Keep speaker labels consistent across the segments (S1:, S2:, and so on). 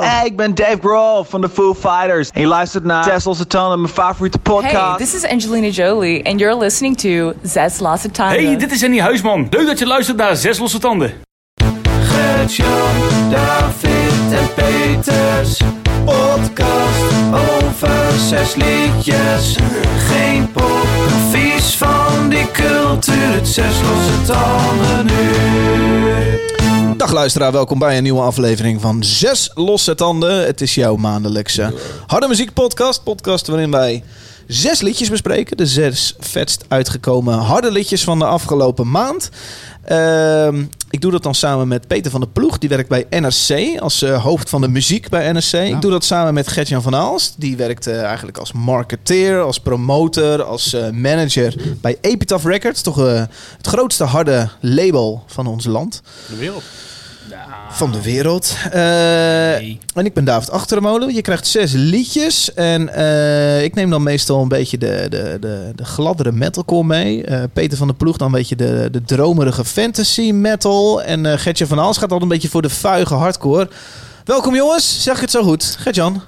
S1: Hey, ik ben Dave Grohl van de Foo Fighters. En je luistert naar Zes Losse Tonen, mijn favoriete
S2: Hey,
S1: podcast.
S2: this is Angelina Jolie, and you're listening to Zes Laatste Tanden.
S3: Hey, dit is Annie Huisman. Leuk dat je luistert naar Zes Losse Tanden.
S4: Gert-Jan, David en Peters. Podcast over zes liedjes. Geen pop, vies van die cultuur. Het zes losse tanden nu.
S5: Dag luisteraar, welkom bij een nieuwe aflevering van Zes Losse Tanden. Het is jouw maandelijkse harde muziek podcast. Podcast waarin wij zes liedjes bespreken. De zes vetst uitgekomen harde liedjes van de afgelopen maand. Ehm, ik doe dat dan samen met Peter van der Ploeg. Die werkt bij NRC als eh, hoofd van de muziek bij NRC. Ik doe dat samen met Gertjan van Aalst. Die werkt eh, eigenlijk als marketeer, als promotor, als eh, manager bij Epitaph Records. Toch eh, het grootste harde label van ons land
S3: De wereld.
S5: van de wereld. Eh,
S3: Nee.
S5: En ik ben David Achtermolen. Je krijgt zes liedjes. En eh, ik neem dan meestal een beetje de, de, de, de gladdere metalcore mee. Eh, Peter van der Ploeg dan een beetje de, de dromerige fantasy metal. En eh Gertje van Aals gaat al een beetje voor de vuige hardcore. Welkom jongens, zeg ik het zo goed. Gertjan,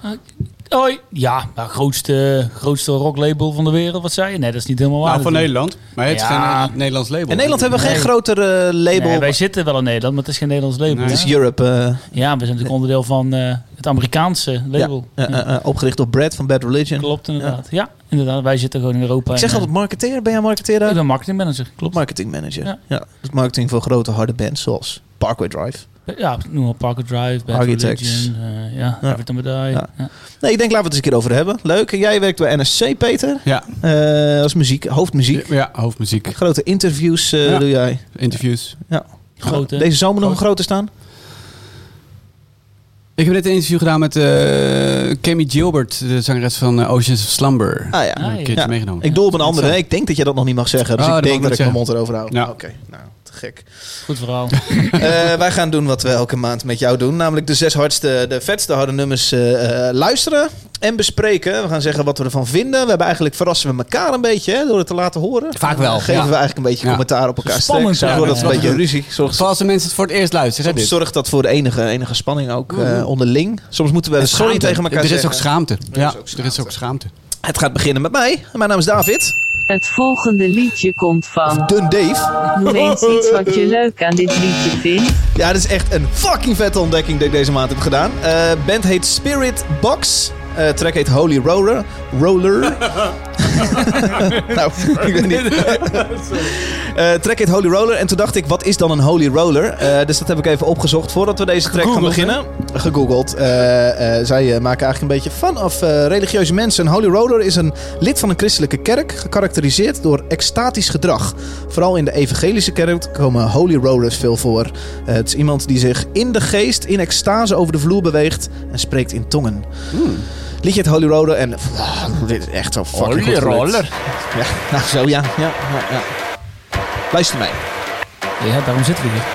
S6: Hoi. Ja, maar grootste, grootste rocklabel van de wereld, wat zei je? Nee, dat is niet helemaal waar.
S7: Nou, van
S6: natuurlijk.
S7: Nederland. Maar het is
S6: Ja.
S7: geen eh, Nederlands label.
S5: in Nederland hebben we geen
S6: Nee.
S5: groter eh, label.
S6: Nee, wij zitten wel in Nederland, maar het is geen Nederlands label.
S7: Nee.
S5: Het is
S6: hè?
S5: Europe, eh,
S6: Ja, we zijn natuurlijk onderdeel van eh, het Amerikaanse label.
S5: eh, eh, eh, opgericht door Brad van Bad Religion.
S6: Klopt inderdaad. Ja. inderdaad. Wij zitten gewoon in Europa.
S5: Ik zeg
S6: en,
S5: altijd marketeer, ben jij marketeer?
S6: eh,
S5: daar?
S6: ik ben marketingmanager, klopt.
S5: Marketing manager. Ja.
S6: Ja.
S5: Dus marketing voor grote harde bands zoals Parkway Drive.
S6: ja, noem maar Parker Drive, Bad
S5: Architects.
S6: Religion, eh, ja,
S5: Ja.
S6: Everton by Die.
S5: Ja.
S6: Ja.
S5: Nee, ik denk laten we het eens een keer over hebben. Leuk. En jij werkt bij NSC, Peter.
S7: Ja.
S5: Eh, als muziek, hoofdmuziek.
S7: Ja, hoofdmuziek,
S5: Grote interviews eh,
S7: Ja.
S5: doe jij.
S7: interviews.
S6: Grote.
S5: Deze zomer nog een
S6: Grote.
S5: grote staan.
S7: Ik heb net een interview gedaan met eh Cammy Gilbert, de zangeres van eh, Oceans of Slumber.
S5: Ah ja.
S7: Heb ik Een
S6: ja.
S7: keertje
S5: Ja.
S7: meegenomen.
S5: Ik doe op een andere.
S7: zo.
S5: hè. Ik denk dat je dat nog niet mag zeggen. Dus
S7: Oh,
S5: ik
S7: dat
S5: denk
S7: mag
S5: dat
S7: ik
S5: ik mijn
S7: niet
S5: mond erover hou.
S7: Ja.
S5: Oké, nou, te gek.
S6: Goed verhaal.
S5: Eh, wij gaan doen wat we elke maand met jou doen. Namelijk de zes hardste, de vetste harde nummers eh, eh, luisteren en bespreken. We gaan zeggen wat we ervan vinden. We hebben eigenlijk verrassen we elkaar een beetje hè, door het te laten horen.
S7: Vaak wel,
S5: Dan geven
S7: ja.
S5: we eigenlijk een beetje
S7: Ja.
S5: commentaar op elkaar.
S6: Spannend
S5: Straks
S6: daar,
S5: wordt het
S6: hè.
S5: een beetje ruzie. Zorgt,
S7: Vooral als de mensen het voor het eerst luisteren. Hè,
S5: soms
S7: dit.
S5: zorgt dat voor de enige, enige spanning ook eh, onderling. Soms moeten we
S7: En
S5: sorry
S7: schaamte.
S5: tegen elkaar
S7: Er is
S5: zeggen.
S7: ook schaamte.
S5: is
S7: Ja,
S5: ook
S7: er is ook schaamte.
S5: het gaat beginnen met mij. Mijn naam is David.
S8: Het volgende liedje komt van.
S5: Dun Dave.
S8: Noem eens iets wat je leuk aan dit liedje vindt.
S5: Ja, dat is echt een fucking vette ontdekking die ik deze maand heb gedaan. Eh band heet Spirit Box. Eh track heet Holy Roller. Roller. nou, ik weet niet. Eh track heet Holy Roller. En toen dacht ik, wat is dan een Holy Roller? Eh, dus dat heb ik even opgezocht voordat we deze track gaan beginnen. Gegoogeld. Eh, eh, zij eh, maken eigenlijk een beetje van of eh, religieuze mensen. Een Holy Roller is een lid van een christelijke kerk, gekarakteriseerd door extatisch gedrag. Vooral in de evangelische kerk komen Holy Rollers veel voor. Eh, het is iemand die zich in de geest, in extase over de vloer beweegt en spreekt in tongen. Liedje het Holy Roller en... ah, dit is echt zo fucking goed gelukt. Ja, nou zo ja. ja, ja, ja. Luister mee.
S6: ja, daarom zitten we hier.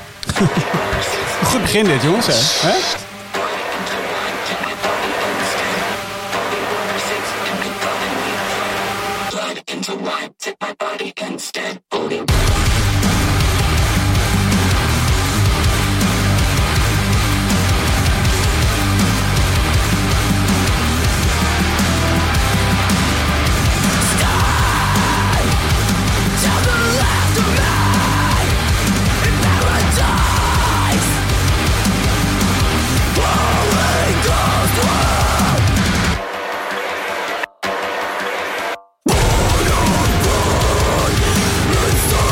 S7: Goed begin dit, jongens. Hè? Hè?
S9: Holy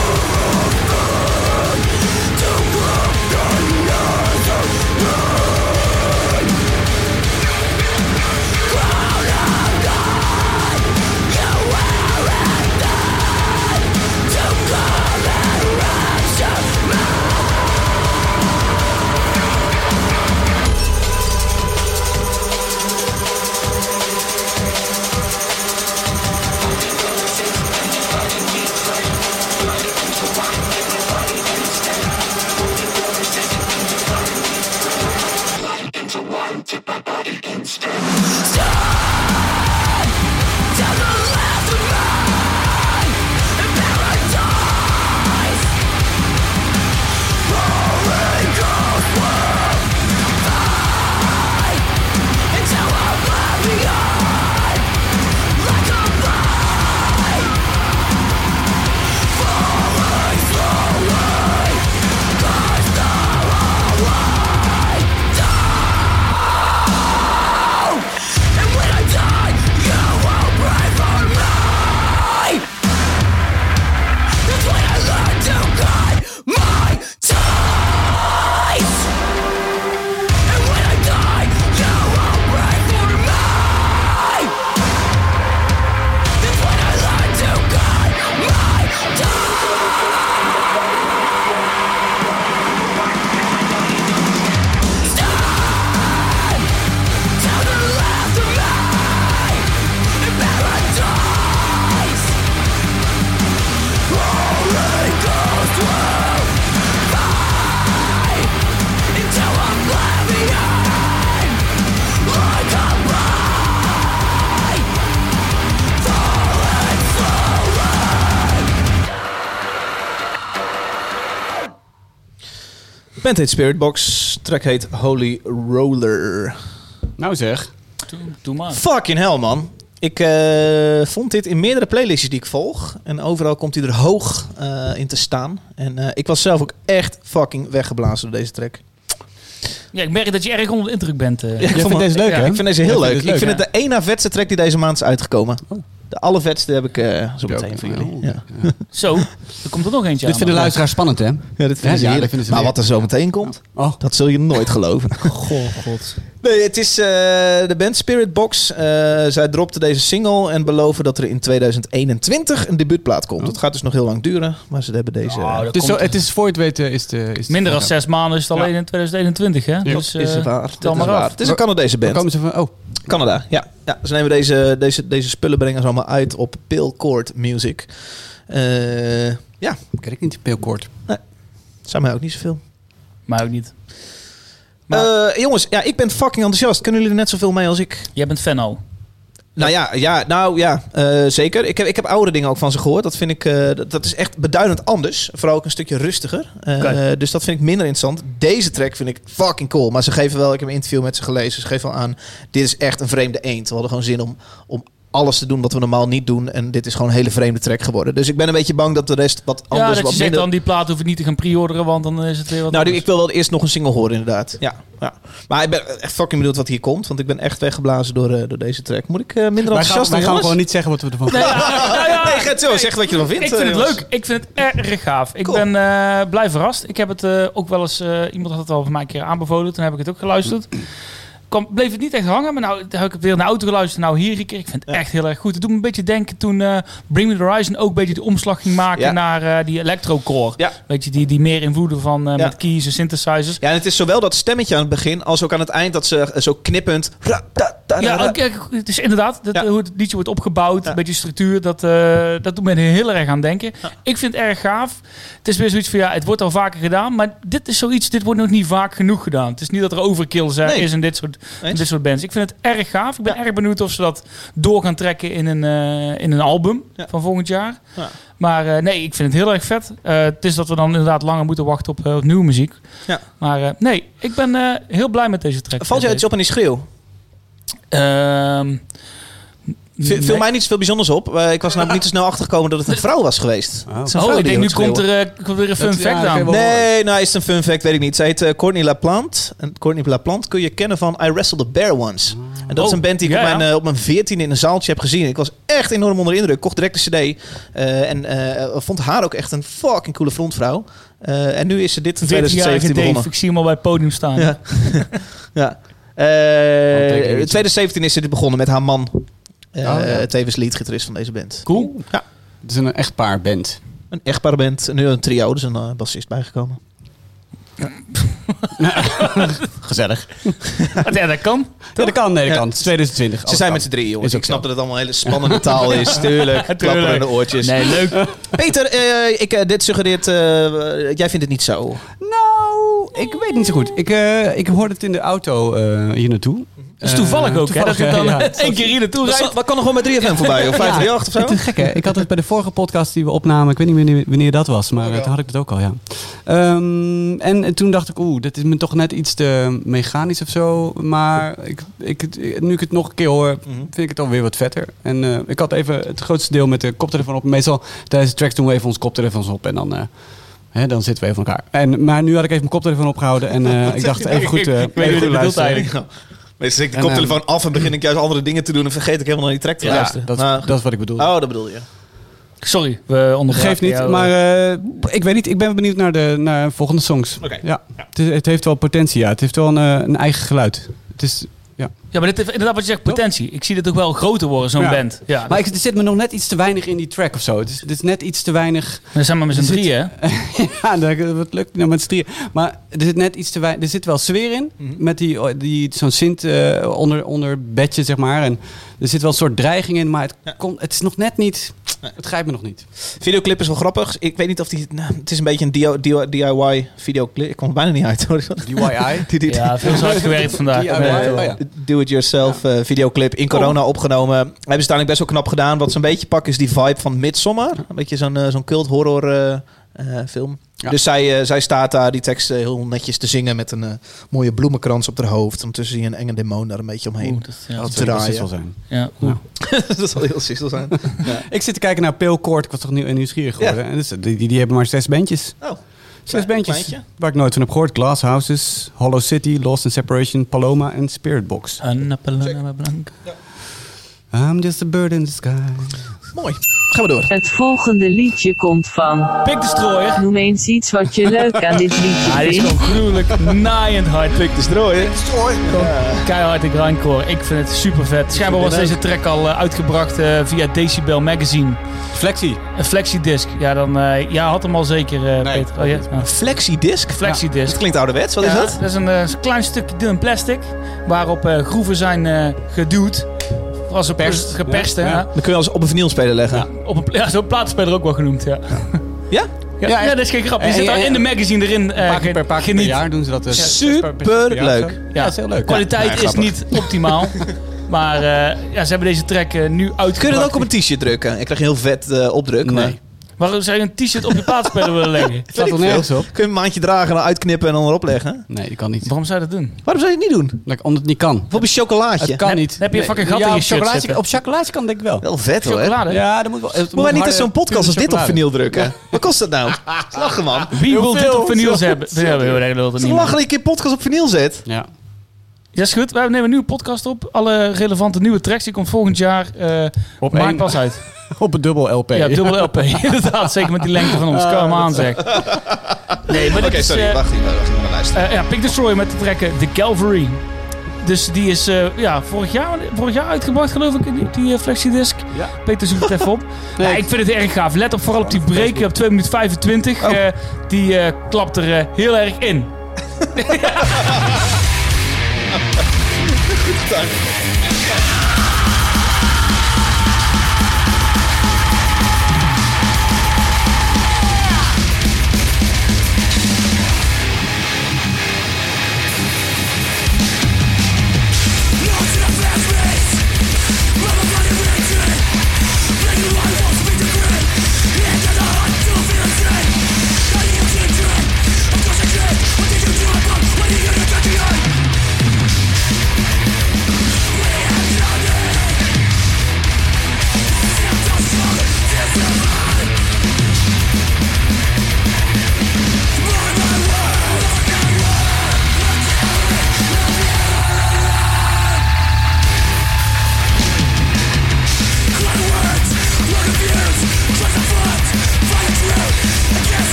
S5: Band heet Spiritbox. Track heet Holy Roller.
S7: Nou zeg.
S6: Doe, doe maar.
S5: Fucking hell, man. Ik eh, vond dit in meerdere playlistjes die ik volg. En overal komt hij er hoog eh, in te staan. En eh, ik was zelf ook echt fucking weggeblazen door deze track.
S6: Ja, ik merk dat je erg onder de indruk bent. eh.
S5: ik
S7: vindt deze leuk,
S5: ja,
S7: hè?
S5: Ik vind deze heel
S7: Jij
S5: leuk.
S7: vindt dit
S5: Ik
S7: leuk,
S5: vind het de ena vetste track die deze maand is uitgekomen. De allervetste heb ik eh, zo
S7: Ja,
S5: meteen
S7: ook
S5: voor
S7: een
S5: jullie.
S7: heel-
S5: Ja.
S6: Zo, er komt er nog eentje
S7: Dit
S6: aan.
S7: vinden de luisteraars spannend, hè?
S5: Ja, dit
S7: Ja,
S5: vinden ze
S7: ja,
S5: heerlijk.
S7: dat vinden ze
S5: maar
S7: leuk.
S5: wat er zo meteen komt,
S7: Oh,
S5: dat zul je nooit geloven.
S6: Goh, god.
S5: Nee, het is eh, de band Spirit Box. Eh, zij dropte deze single en beloven dat er in 2021 een debuutplaat komt. Dat gaat dus nog heel lang duren, maar ze hebben deze...
S6: Oh, dat
S7: het, is
S6: komt-
S7: zo, het is voor je het weten is de... Is het-
S6: Minder dan
S7: ja.
S6: zes maanden is het alleen
S7: Ja.
S6: in 2021, hè? Dus, eh,
S5: is waar.
S6: tel
S5: Dat is
S6: maar af.
S5: waar. Het is een Canadese
S7: Dan
S5: band.
S7: komen ze van... Oh,
S5: Canada, ja. ja ze nemen deze, deze, deze spullen brengen ze allemaal uit op Pale Court Music. Eh, ja,
S7: ken ik niet. Peelkort.
S5: zijn mij ook niet zoveel.
S6: maar ook niet.
S5: Eh, jongens, ja, ik ben fucking enthousiast. Kunnen jullie er net zoveel mee als ik?
S6: Jij bent fan al.
S5: Nou ja, ja, nou ja eh, zeker. Ik heb, ik heb oude dingen ook van ze gehoord. Dat vind ik, eh, dat, dat is echt beduidend anders. Vooral ook een stukje rustiger. Eh,
S6: Oké.
S5: Dus dat vind ik minder interessant. Deze track vind ik fucking cool. Maar ze geven wel, ik heb een interview met ze gelezen. Ze geven wel aan, dit is echt een vreemde eend. We hadden gewoon zin om, om alles te doen wat we normaal niet doen. En dit is gewoon een hele vreemde track geworden. Dus ik ben een beetje bang dat de rest wat
S6: Ja,
S5: anders,
S6: dat je
S5: dus wat
S6: zegt
S5: minder...
S6: dan die plaat hoef ik niet te gaan pre-orderen, want dan is het weer wat
S5: Nou,
S6: anders.
S5: ik wil wel eerst nog een single horen, inderdaad. Ja, ja. Maar ik ben echt fucking benieuwd wat hier komt. Want ik ben echt weggeblazen door, eh, door deze track. Moet ik eh, minder
S7: Wij gaan,
S5: enthousiast
S7: wij
S5: doen,
S7: gaan
S5: jongens?
S7: gewoon niet zeggen wat we ervan
S6: Nee, ja, nou ja,
S5: Nee, Gert, zo, zeg wat je ervan vindt.
S6: Ik vind het
S5: eh,
S6: leuk. Ik vind het erg gaaf. Ik
S5: Cool.
S6: ben eh, blij verrast. Ik heb het eh, ook wel eens... eh, iemand had het al van mij een keer aanbevolen. Toen heb ik het ook geluisterd. Kwam, bleef het niet echt hangen, maar nou heb ik het weer in de auto geluisterd. Nou, hier een keer. Ik vind het echt heel erg goed. Het doet me een beetje denken toen eh, Bring Me The Horizon ook een beetje de omslag ging maken
S5: Ja.
S6: naar eh, die electrocore.
S5: Ja.
S6: Weet je, die, die meer invloeden van eh,
S5: Ja.
S6: met keys en synthesizers.
S5: Ja, en het is zowel dat stemmetje aan het begin als ook aan het eind dat ze eh, zo knippend. ra, da, da, da,
S6: Ja,
S5: da.
S6: ook, ja, het is inderdaad dat,
S5: nou, Ja.
S6: eh, hoe het liedje wordt opgebouwd,
S5: Ja.
S6: een beetje structuur, dat, eh, dat doet me er heel erg aan denken. Ik vind het erg gaaf. Het is weer zoiets van ja, het wordt al vaker gedaan, maar dit is zoiets, dit wordt nog niet vaak genoeg gedaan. Het is niet dat er overkill zijn,
S5: Nee.
S6: is in dit soort, in
S5: Eens.
S6: dit soort bands. Ik vind het erg gaaf. Ik ben erg benieuwd of ze dat door gaan trekken in een, eh, in een album
S5: Ja.
S6: van volgend jaar.
S5: Ja.
S6: Maar eh, nee, ik vind het heel erg vet. Eh, het is dat we dan inderdaad langer moeten wachten op, eh, op nieuwe muziek.
S5: Ja.
S6: Maar eh, nee, ik ben eh, heel blij met deze track.
S5: Valt jou iets op in die schreeuw?
S6: Ehm,
S5: V-
S6: nee. Oh,
S5: Viel mij niet zoveel bijzonders op. Eh, ik was namelijk niet te snel achtergekomen dat het een vrouw was geweest.
S7: Oh.
S5: Het is een vrouw
S6: Oh, ik
S5: die
S6: denk nu
S5: hoort
S6: komt er
S5: schreeuwen.
S6: eh, komt weer een fun
S7: Dat- ja,
S6: fact
S7: dat
S6: aan.
S7: kan je wel-
S5: Nee, nou is het een fun fact, weet ik niet. Zij heet eh, Courtney LaPlante. En Courtney LaPlante kun je kennen van I Wrestled the Bear Once. En dat is
S6: Oh,
S5: een band die ik
S6: ja,
S5: op, mijn,
S6: ja.
S5: eh, op mijn 14 in een zaaltje heb gezien. Ik was echt enorm onder de indruk. Kocht direct de cd. eh, en eh, vond haar ook echt een fucking coole frontvrouw. Eh, en nu is ze dit in
S6: 2017
S5: 2017 begonnen.
S6: Dave, ik zie hem al bij het podium staan.
S5: Ja. ja. Eh, in 2017 is ze dit begonnen met haar man.
S6: Oh,
S5: Eh
S7: ja.
S5: Tevens leadgitarist van deze band.
S6: Cool.
S7: Het is een echt paar band.
S5: Een echtpaar band. En nu een trio. Dus een eh, bassist bijgekomen.
S7: Gezellig.
S6: Ja, dat kan.
S7: Ja, dat kan. Nee, dat
S5: Ja.
S7: kan. Het is 2020.
S5: Ze
S7: alles
S5: zijn
S7: kan.
S5: met z'n drie, jongens.
S7: Is ook
S5: Ik snap dat het allemaal hele spannende taal is. Tuurlijk. Klapperende oortjes.
S6: Nee, leuk.
S5: Peter, eh, ik, eh, dit suggereert... eh, jij vindt het niet zo.
S7: Nou, ik weet niet zo goed. Ik, eh, ik hoorde het in de auto eh, hier naartoe.
S6: Dat is toevallig
S7: Eh,
S6: ook, hè? Dat je
S7: toevallig,
S6: dan
S7: ja, ja.
S6: één keer hier naartoe
S5: Dat,
S6: rijdt.
S5: kan nog wel met 3FM voorbij. Of 538
S7: Het
S5: of
S7: is
S5: zo.
S7: gek, hè? Ik had het bij de vorige podcast die we opnamen. Ik weet niet wanneer, wanneer dat was, maar eh, toen had ik dat ook al, ja. Ehm, en toen dacht ik, oeh, dat is me toch net iets te mechanisch of zo. Maar ik, ik, nu ik het nog een keer hoor, vind ik het alweer wat vetter. En eh, ik had even het grootste deel met de koptelefoon op. Meestal tijdens de tracks doen we even onze koptelefoons op en dan... eh, Hè, dan zitten we even van elkaar. En, maar nu had ik even mijn koptelefoon opgehouden en eh, ik dacht even goed, eh
S6: weet niet hoe je dat
S7: even goed
S6: bedoelt
S7: luisteren.
S6: eigenlijk.
S5: Meestal zet ik de
S7: En, eh,
S5: koptelefoon af en begin ik juist andere dingen te doen. En vergeet ik helemaal naar die track te
S7: Ja,
S5: luisteren.
S7: dat,
S5: Maar-
S7: dat is wat ik bedoel.
S5: Oh, dat bedoel je.
S6: Sorry, we onderbreken
S7: Geeft niet,
S6: jou.
S7: maar eh, ik weet niet. Ik ben benieuwd naar de naar volgende songs.
S5: Oké.
S7: Ja. Het, is- het heeft wel potentie, ja. Het heeft wel een, eh, een eigen geluid. Het is, ja.
S6: Ja, maar dit heeft inderdaad wat je zegt, potentie. Ik zie dit ook wel groter worden, zo'n
S7: Ja.
S6: band. Ja,
S7: Maar ik, er zit me nog net iets te weinig in die track of zo. Het is, het is net iets te weinig...
S6: we zijn maar met z'n
S7: er zit-
S6: drieën, hè?
S7: ja, dat- wat lukt nou met z'n drieën. Maar er zit net iets te weinig... Er zit wel sfeer in. Met die, oh, die, zo'n synth eh, onder, onder bedje, zeg maar. En er zit wel een soort dreiging in, maar het, kon, het is nog net niet... Het grijpt me nog niet.
S5: Videoclip is wel grappig. Ik weet niet of die... Nou, het is een beetje een DIY, DIY videoclip. Ik kom er bijna niet uit. hoor.
S7: DIY.
S5: Die- die-
S6: Ja, veel zo hard gewerkt vandaag.
S7: DIY.
S6: Nee,
S7: Oh, ja.
S5: Eh, Do-it-yourself eh, videoclip in corona opgenomen. Hebben ze uiteindelijk best wel knap gedaan. Wat ze een beetje pakken is die vibe van Midsommar. Een beetje zo'n eh, zo'n cult horror eh, eh, film. Dus zij, eh, zij staat daar die tekst eh, heel netjes te zingen met een eh, mooie bloemenkrans op haar hoofd. Ondertussen zie je een enge demon daar een beetje omheen
S6: Oeh, dat, ja.
S5: te draaien.
S7: zijn.
S6: Ja, oeh.
S5: dat zal heel sissel zijn.
S7: Ik zit te kijken naar Pale Court. Ik was toch nieuw en nieuwsgierig geworden. En dus, die, die, die hebben maar zes bandjes.
S5: Oh,
S7: Zes bandjes.
S5: kleintje.
S7: Waar ik nooit van heb gehoord. Glass Houses, Hollow City, Lost in Separation, Paloma en Spirit Box.
S6: Anna Paloma Blanca.
S7: I'm just a bird in the sky.
S5: mooi. Gaan we door.
S8: Het volgende liedje komt van.
S6: Pik de strooier.
S8: Noem eens iets wat je leuk aan dit liedje
S6: Ja, Ah, dit is
S8: vindt.
S6: gewoon gruwelijk naaiend hard.
S5: Klik de strooien.
S6: Keihard de grindcore. Ik vind het super vet. Schijnbaar was deze track al eh, uitgebracht eh, via Decibel Magazine.
S7: Flexie.
S6: Een flexidisc. Ja, dan, eh ja had hem al zeker, eh,
S7: Nee.
S6: Peter. Oh, ja? Ah.
S5: Flexidisc.
S6: Flexidisc.
S5: Dat klinkt ouderwets, wat is
S6: Ja,
S5: dat?
S6: is een eh, klein stukje dun plastic waarop eh, groeven zijn eh, geduwd. Was op
S7: Geperst.
S6: geperst
S7: Ja,
S6: hè?
S7: ja.
S5: Dan kun je als op een vinylspeler leggen.
S6: Op een, pla- ja, zo'n plaatspeler ook wel genoemd, ja.
S5: Ja?
S6: Ja,
S7: Ja,
S6: ja, dat is geen grap. Je
S7: en-
S6: zit daar
S7: en-
S6: in de magazine erin. eh,
S7: Paar keer per, paar keer per
S6: geniet.
S7: jaar doen ze dat. eh, zes per- per- per- per jaar of zo.
S5: Superleuk.
S7: Ja, dat is heel leuk.
S6: dus. Kwaliteit
S7: Ja, nee,
S6: is
S7: grappig.
S6: niet optimaal. maar eh, ja, ze hebben deze track eh, nu uitgebracht.
S5: Kun je dat ook op een t-shirt drukken? Ik krijg een heel vet eh, opdruk. Maar
S7: Nee.
S6: Waarom zou je een t-shirt op je plaatspeler willen leggen?
S7: Het staat er nergens op.
S5: kun je een maandje dragen, en dan uitknippen en dan erop leggen?
S7: Nee, die kan niet.
S6: Waarom zou je dat doen?
S5: Waarom zou je het niet doen?
S7: Like, omdat het niet kan.
S5: Bijvoorbeeld chocolaatje.
S7: Het kan
S6: Heb-
S7: niet.
S6: heb je een fucking gat in je
S7: op
S6: shirt
S7: chocolaatje-
S6: zitten?
S7: Op chocolaatje kan denk ik wel.
S5: Wel vet hoor.
S6: Chocolade?
S7: Ja, dat moet wel. het moet
S5: Moeten wij niet
S7: harde,
S5: eens zo'n podcast als
S7: pure
S5: dit op
S7: chocolade.
S5: vinyl drukken? Wat kost dat nou? Dat is Lachen man. Dat
S6: Wie wil dit
S7: veel,
S6: op vinyls
S7: veel,
S6: hebben? Ja, we hebben dat
S5: is
S6: niet.
S5: toch lachen dat ik een podcast op vinyl zet?
S7: Ja.
S6: Ja, is goed. We nemen een nieuwe podcast op. Alle relevante nieuwe tracks. Die komt volgend jaar eh
S7: Op
S6: maart
S7: één-
S6: pas uit.
S7: Op een dubbel LP.
S6: Ja, dubbel LP. Inderdaad, zeker met die lengte van ons. Kom aan zeg. Nee, maar dit
S5: Oké,
S6: is...
S5: sorry.
S6: eh,
S5: Wacht even. wacht even, maar luister.
S6: eh, ja, Pick Destroyer met de trekken The Calvary. Dus die is eh, ja, vorig, jaar, vorig jaar uitgebracht, geloof ik, die, die eh, flexidisc.
S7: Ja.
S6: Peter zoekt het even op.
S7: Nee,
S6: ja, ik vind het erg gaaf. Let op vooral op die break op 2 minuten 25.
S7: Oh.
S6: eh, die eh, klapt er eh, heel erg in.
S9: Yeah.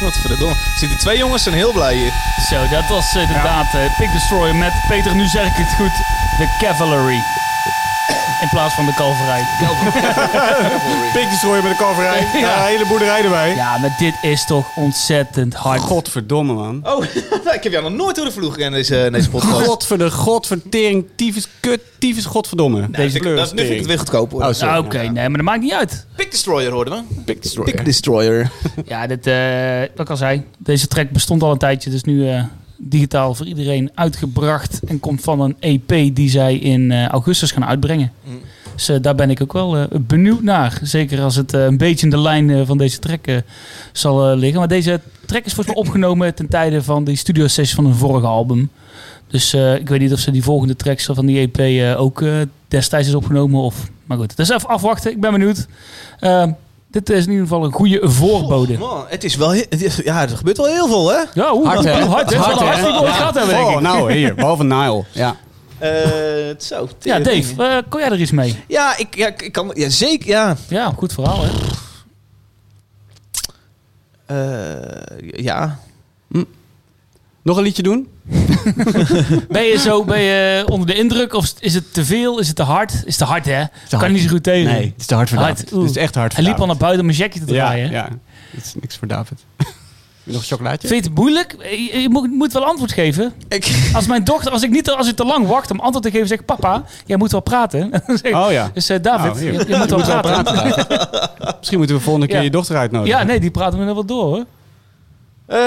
S5: Wat verdomme. Zitten twee jongens zijn heel blij hier.
S6: Zo, dat was eh, inderdaad eh Pig Destroyer met Peter, nu zeg ik het goed, de Cavalry. In plaats van de Calverij.
S9: Pikjes gooien met de kalverij. Ja.
S6: Ja.
S9: een hele boerderij erbij.
S6: Ja, maar dit is toch ontzettend hard.
S7: Godverdomme, man.
S5: Oh, ik heb jou nog nooit door de vloer gegaan in deze, in deze podcast.
S7: Godver de godvertering, tyfus, kut, tyfus, godverdomme.
S5: Nee, dus ik- dat- nu vind ik het weer goedkoop hoor. Nou,
S7: Oh,
S6: Ah, Oké, nee, maar dat maakt niet uit.
S5: Pick Destroyer hoorden we.
S7: Big Destroyer.
S5: Pick Destroyer.
S6: Ja, dit, eh, wat ik al zei, deze track bestond al een tijdje, dus nu eh, digitaal voor iedereen uitgebracht. En komt van een EP die zij in eh, augustus gaan uitbrengen. Dus eh, daar ben ik ook wel eh, benieuwd naar. Zeker als het eh, een beetje in de lijn eh, van deze track eh, zal eh, liggen. Maar deze track is volgens mij opgenomen ten tijde van die studio sessie van hun vorige album. Dus eh, ik weet niet of ze die volgende tracks van die EP eh, ook eh, destijds is opgenomen. Of, maar goed, dus even afwachten. Ik ben benieuwd. Eh, dit is in ieder geval een goede voorbode.
S5: Man, het is wel... he- het is- Ja, er gebeurt wel heel veel, hè?
S6: Ja, oeh,
S7: Hard,
S6: dat is
S7: hè?
S6: heel hard. hè?
S7: Dat is
S6: Dat is wel
S7: hard, hè?
S6: hartstikke goed gehad hebben, denk
S7: Oh,
S6: ik.
S7: nou, hier, behalve Nile. Ja.
S5: Eh, zo.
S6: Ja, Dave, eh, kon jij er iets mee?
S5: Ja, ik, ja, ik kan... Ja, zeker, ja.
S6: Ja, goed verhaal, hè?
S5: Eh, ja.
S7: Nog een liedje doen?
S6: Ben je zo ben je onder de indruk of is het te veel? Is het te hard? Is te hard, hè? Kan je
S7: hard.
S6: niet zo goed tegen.
S7: Nee, het is te hard voor
S6: Hard,
S7: David.
S6: oeh.
S7: Het is echt hard voor
S6: Hij liep al
S7: David.
S6: naar buiten om een jackje te draaien. hè?
S7: Ja, ja. Het is niks voor David. Wil je nog een chocolaatje?
S6: Vind je het moeilijk? Je, je moet, moet wel antwoord geven.
S5: Ik...
S6: Als mijn dochter, als ik niet te- als ik te lang wacht om antwoord te geven, zeg papa, jij moet wel praten. Dan zeg ik,
S7: Oh ja.
S6: Dus eh, David,
S7: Nou,
S6: je,
S7: hier.
S6: je moet wel praten.
S7: Misschien moeten we volgende keer
S6: Ja.
S7: je dochter uitnodigen.
S6: Ja, nee, die praten me dan wel door, hoor.
S5: Eh,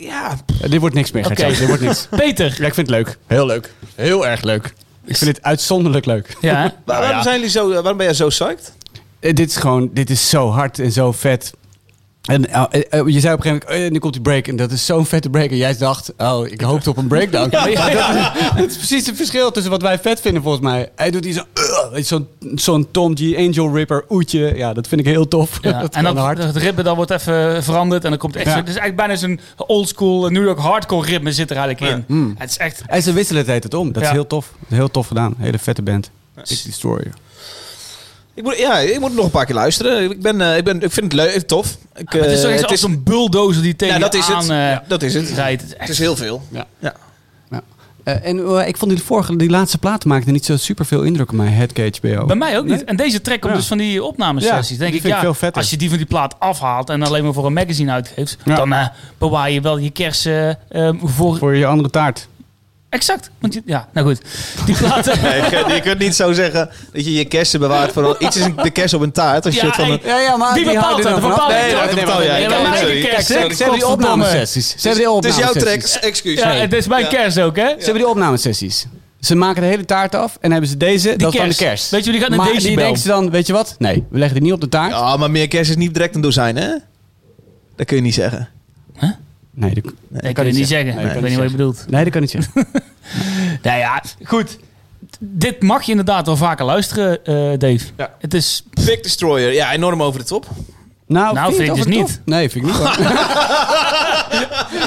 S5: ja,
S7: Eh, dit wordt niks meer, Gert-Jan.
S6: Oké.
S7: Dit wordt niks.
S6: Peter.
S7: Ja, ik vind het leuk. Heel leuk. Heel erg leuk. Ik vind dit uitzonderlijk leuk.
S6: Nou Ja, hè?
S5: Waar- waarom, zijn jullie zo, eh, waarom ben jij zo psyched?
S7: Eh, dit is gewoon, dit is zo hard en zo vet. En eh, eh, eh, je zei op een gegeven moment, eh, nu komt die break. En dat is zo'n vette break. En jij dacht, oh, ik hoopte op een breakdown. Maar ja, Dat, dat is precies het verschil tussen wat wij vet vinden, volgens mij. Hij doet die zo, eh, weet je, zo'n zo'n Tom G, Angel Ripper, oetje. Ja, dat vind ik heel tof.
S6: Ja,
S7: dat
S6: en
S7: kan
S6: dat,
S7: hard.
S6: dat ritme dan wordt even veranderd en dan komt echt
S7: Ja.
S6: zo- het is eigenlijk bijna zo'n oldschool eh, New York hardcore ritme zit er eigenlijk in. Het is echt
S7: En ze wisselen het heet het om. Dat
S6: Ja.
S7: is heel tof. Heel tof gedaan. Hele vette band. Dick Destroyer.
S5: Ik moet, ja, ik moet nog een paar keer luisteren. Ik, ben, eh, ik, ben, ik vind het leuk, tof. Ik,
S6: het is
S5: eh,
S6: toch echt
S5: het
S6: als
S5: is-
S6: een bulldozer die tegen
S5: Ja, dat
S6: je
S5: is
S6: aan
S5: het.
S6: eh,
S5: Ja, dat is het.
S6: rijdt. Het is
S5: Het
S6: echt-
S5: is heel veel.
S7: Eh, en eh, ik vond die, vorige, die laatste plaat maakte niet zo super veel indruk op mij. Headcage BO.
S6: Bij mij ook niet. En deze track komt
S7: Ja.
S6: dus van die opnamesessies.
S7: Ja,
S6: denk ik,
S7: die vind ik
S6: ja,
S7: veel vetter.
S6: als je die van die plaat afhaalt en alleen maar voor een magazine uitgeeft,
S7: Ja.
S6: dan eh, bewaar je wel je kersen ehm, voor...
S7: Voor je andere taart.
S6: Exact. Want je, ja, nou goed. Die plaat...
S5: Nee, je, kunt- je kunt niet zo zeggen dat je je kersen bewaart voor al- iets is een- de kers op een taart. Als je
S6: Ja,
S5: het van
S6: hey,
S5: een,
S7: Ja, ja, maar
S6: Wie
S7: die
S6: bepaalt
S7: houden
S6: dat?
S7: er
S6: Dat
S7: vanaf.
S6: bepaal
S5: Nee,
S6: ik.
S5: dat
S6: Nee,
S5: bepaal
S6: nee,
S5: jij.
S6: nee,
S5: Kijk,
S6: maar
S5: sorry.
S6: mijn
S5: Kijk,
S6: kerst,
S7: Ze
S6: hè?
S7: hebben- ze hebben die
S6: Godverdomme.
S7: opnamesessies. Ze hebben die
S5: Het is
S7: opnamesessies.
S5: jouw tracks, excuus.
S6: Ja,
S5: Nee.
S6: het is mijn kerst ook, hè?
S7: Ze hebben die opnamesessies. Ze maken de hele taart af en hebben ze deze, dat is dan de
S6: kerst.
S7: kerst.
S6: Weet je, die gaat naar
S7: maar die
S6: decibel.
S7: denken ze dan, weet je wat? Nee, we leggen dit niet op de taart.
S5: Ja, maar meer kers is niet direct een dozijn, hè? Dat kun je niet zeggen.
S7: Nee, dat,
S6: Nee, ik kan het niet zeggen.
S7: Nee,
S6: ik weet niet wat je bedoelt.
S7: nee, dat kan niet zeggen.
S6: Nou ja, goed. D- Dit mag je inderdaad wel vaker luisteren, eh, Dave.
S5: Ja.
S6: Het is...
S5: Big Destroyer, ja, enorm over de top.
S7: Nou,
S6: Nou,
S7: je
S6: vind
S7: het
S6: ik dus
S7: over de
S6: niet.
S7: top? Nee, vind ik niet. hoor.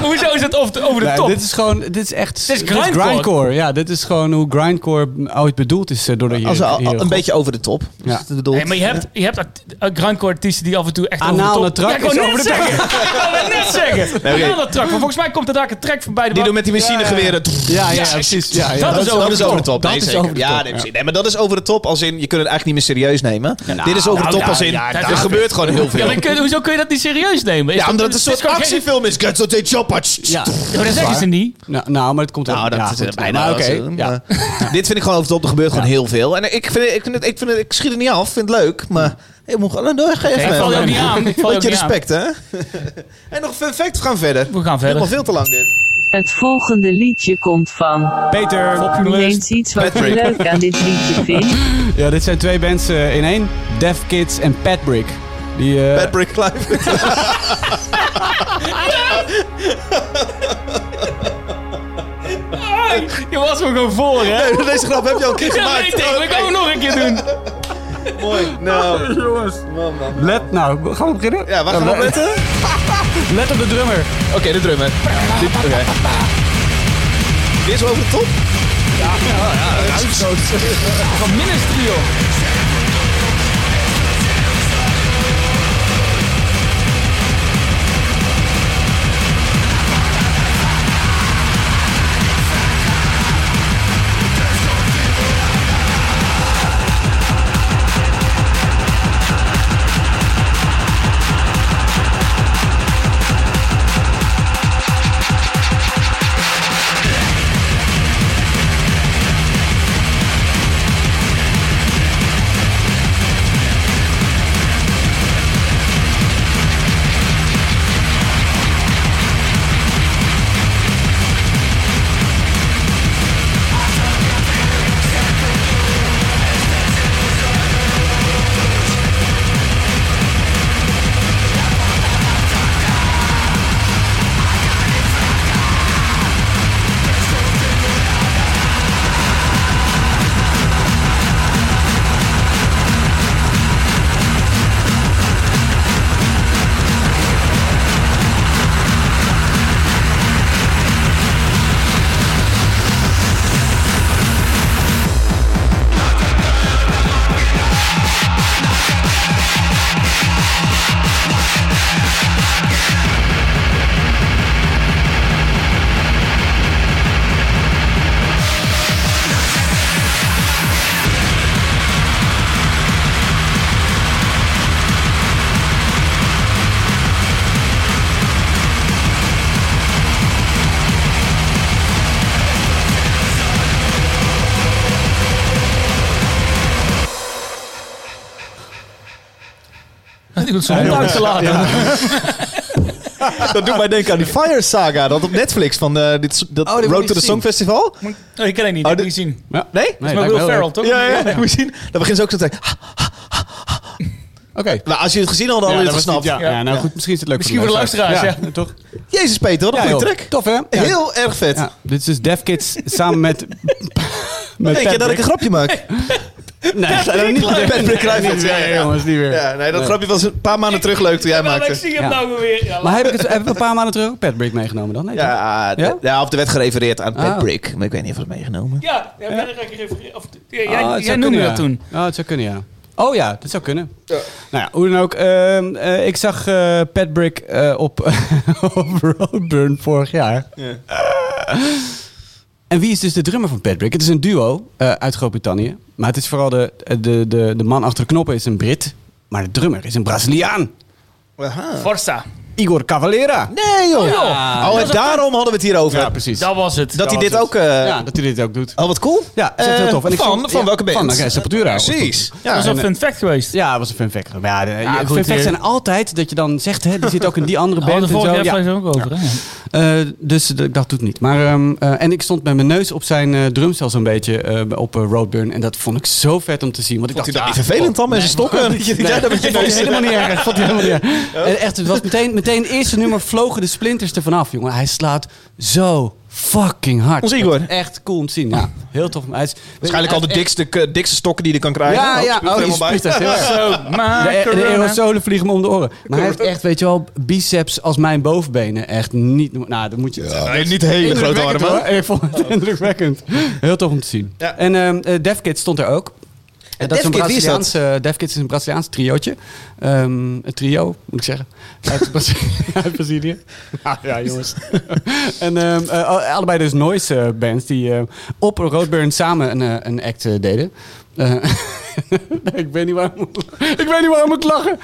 S6: Hoezo is het over de, over de
S7: Nee,
S6: top?
S7: dit is gewoon, dit is echt...
S6: Dit is grindcore.
S7: Ja, dit is gewoon hoe grindcore ooit bedoeld is eh, door de
S5: Als,
S7: hier-
S5: al-
S7: hier-
S5: al- een beetje over de top.
S7: Ja.
S5: Is het bedoeld?
S6: Nee, maar je hebt, je hebt art- eh, grindcore artiesten die af en toe echt
S7: Anale
S6: over de top...
S7: trak
S6: Ja, ik wou
S7: is
S6: net
S7: over de top.
S6: zeggen. Ik wou het net zeggen.
S5: Nee, oké.
S6: Anale trak. Maar volgens mij komt er daar een track voorbij.
S5: Die doen met die machinegeweren.
S7: Ja, ja, precies. Ja, ja.
S6: Dat is over de top.
S5: Nee,
S7: Dat is
S5: zeker.
S7: over de
S5: ja,
S7: top,
S5: nee,
S7: ja.
S5: precies. Nee, maar dat is over de top als in... Je kunt het eigenlijk niet meer serieus nemen. Dit is over de
S6: nou,
S5: top
S6: ja,
S5: als in...
S6: ja,
S5: er
S6: daar-
S5: gebeurt gewoon heel
S6: Ja,
S5: veel.
S6: maar kun- hoezo kun je dat niet serieus nemen? Is
S5: Ja,
S6: dat-
S5: omdat het een
S6: is
S5: soort
S6: gewoon geen-
S5: actiefilm is. Get the chopper.
S7: Ja,
S6: Ja, maar dat zeggen ze niet.
S7: Nou, nou, maar het komt wel.
S5: Nou, dat
S7: ja,
S5: is
S7: goed.
S5: eh, bijna
S7: Maar
S5: wel
S7: oké.
S5: zo. eh.
S7: ja.
S5: Maar Dit vind ik gewoon over de top. Er gebeurt gewoon heel veel. En ik, vind, ik, vind het, ik, vind het, ik schiet het niet af. vind het leuk. Maar ik moet gewoon doorgeven.
S6: Ik val je ook niet aan. Ik val je ook
S5: Beetje
S6: niet aan.
S5: respect, hè? en nog een fun fact. We gaan verder.
S6: We gaan verder.
S5: Helemaal veel te lang dit.
S8: Het volgende liedje komt van.
S7: Peter.
S8: Noem eens iets wat je
S5: Patrick.
S8: leuk aan dit liedje vindt.
S7: Ja, dit zijn twee bands eh, in één. Def Kids en Pat Brick. Die, eh,
S5: Bad Brick Live.
S6: Je was me gewoon voor, hè?
S5: Deze grap heb je al een keer
S6: Ja,
S5: gemaakt.
S6: weet ik. Dat kan ik nog een keer doen.
S5: Mooi. Nou,
S7: Let, nou, gaan we beginnen?
S5: ja, waar gaan we op letten? Oké,
S7: Let op de drummer.
S5: de drummer. Dit, oké. Dit is over de top.
S6: Van Ministry, joh. goed zijn hond uit te laten.
S5: Dat doet mij denken aan die Fire Saga, dat op Netflix van eh, dit, so- dat
S7: Oh, die moet
S5: Road
S7: ik
S5: to the
S7: zien.
S5: Song Festival.
S6: Oh, die ken ik niet,
S5: Oh,
S6: die heb ik
S5: dit-
S6: niet gezien.
S7: Ja.
S5: Nee?
S7: Nee,
S6: maar
S7: lijkt me
S6: Will
S7: heel
S6: Ferrell,
S7: leuk.
S6: toch?
S5: Ja, ja, ja. Moet je zien? Dan beginnen ze ook zo te zeggen.
S7: Oké.
S5: Nou, als je het gezien had, dan had je
S9: dat
S5: het
S9: was
S5: gesnapt.
S9: niet- ja.
S7: Ja, nou goed, misschien is het leuk
S6: Misschien
S7: voor de
S6: voor de luisteraars,
S7: Ja, toch?
S5: Jezus Peter, wat een
S7: Ja,
S5: goede
S7: joh.
S5: track.
S7: Tof, hè? Ja.
S5: Heel erg vet.
S7: Ja, dit is dus Dev Kids samen met... met
S5: Denk je dat ik een grapje maak?
S7: Nee, ga dat niet
S5: Patrick
S7: doen.
S5: Kluivert,
S7: Niet
S5: ja,
S7: weer,
S5: ja.
S7: jongens, niet weer.
S5: Ja, nee, dat grapje was een paar maanden terug leuk toen jij
S6: Nou, ik
S5: maakte.
S6: zie hem
S7: Ja.
S6: nou weer. Ja,
S7: Maar heb ik, het, heb ik een paar maanden terug ook Pat Brick meegenomen dan? Nee, toch?
S5: Ja,
S7: Ja?
S5: d- ja, of de werd gerefereerd aan
S7: Ah.
S5: Pat Brick. Maar ik weet niet of het meegenomen.
S6: ja, ja, daar ga ik even- of- ja,
S7: Ah, het
S6: jij,
S7: zou
S6: jij
S7: kunnen,
S6: noemde
S7: ja.
S6: dat toen.
S7: Ah, het zou kunnen, ja. Oh ja, dat zou kunnen. Nou ja, hoe dan ook. ehm, eh, ik zag eh Pat Brick eh, op, op Roadburn vorig jaar. En wie is dus de drummer van Pat Brick? Het is een duo eh, uit Groot-Brittannië. Maar het is vooral de, de, de, de man achter de knoppen is een Brit. Maar de drummer is een Braziliaan.
S5: Aha.
S6: Forza.
S7: Igor Cavalera.
S5: Nee, joh. Oh, en daarom hadden we het hier over.
S7: Ja, precies.
S6: Dat was het.
S5: dat hij
S6: was
S5: dit
S6: het.
S5: ook... eh,
S7: ja, dat hij dit ook doet.
S5: Oh, wat cool.
S7: Ja, dat is echt heel
S5: Eh,
S7: tof. En ik
S5: van,
S7: vond-
S5: van
S7: ja,
S5: welke band?
S7: Van eh, Sepultura.
S5: Precies. Ja,
S6: Dat was een fun fact geweest.
S7: eh, Ja, het was een fun fact. Maar Ja, de, ja,
S6: goed,
S7: fun facts
S6: eh.
S7: zijn altijd dat je dan zegt, hè, die zit ook in die andere
S6: We
S7: band
S6: hadden vorige
S7: en zo. Ja.
S6: aflevering ook over. hè?
S7: Eh, dus d- ik dacht, doet niet. Maar, ehm, eh, en ik stond met mijn neus op zijn eh, drumstel zo'n beetje eh, op eh, Roadburn. En dat vond ik zo vet om te zien. Want ik
S5: Vond hij
S7: dacht,
S5: dat niet
S7: ja,
S5: vervelend dan met zijn stokken? Dat je- jij dat met je
S7: vond hij
S5: neus-
S7: helemaal niet erg. Vond hij helemaal niet erg. En echt, het was meteen, meteen eerste nummer vlogen de splinters er vanaf, jongen. Hij slaat zo fucking hard.
S5: Ons Igor.
S7: Echt cool om te zien. Ja, heel tof. Hij is,
S5: Waarschijnlijk al de dikste,
S7: eh,
S5: k- dikste stokken die je kan krijgen.
S7: Ja,
S5: Oh,
S7: ja.
S5: speelt er
S7: Oh, die
S5: helemaal bij.
S7: spuugt echt heel erg.
S6: Zo, maar
S7: De, de aerosolen vliegen me om de oren. Maar hij heeft echt, weet je wel, biceps als mijn bovenbenen. Echt niet... Nou, dan moet je...
S5: Nee, niet hele grote
S7: Indrukwekkend,
S5: armen. Oh.
S7: hoor. Ik vond het indrukwekkend. Heel tof om te zien.
S5: Ja.
S7: En ehm eh, Def Kids stond er ook. En dat is een
S5: Def Kids, wie is dat?
S7: Braziliaanse, Def Kids is een Braziliaans triootje. Ehm, een trio, moet ik zeggen. Uit, Brazi- uit Brazilië. Ah, ja, jongens. en ehm, eh, al- allebei dus noise eh, bands die eh, op Roadburn samen een, eh, een act eh, deden. Eh, ik, weet niet waarom, ik weet niet waarom ik lachen.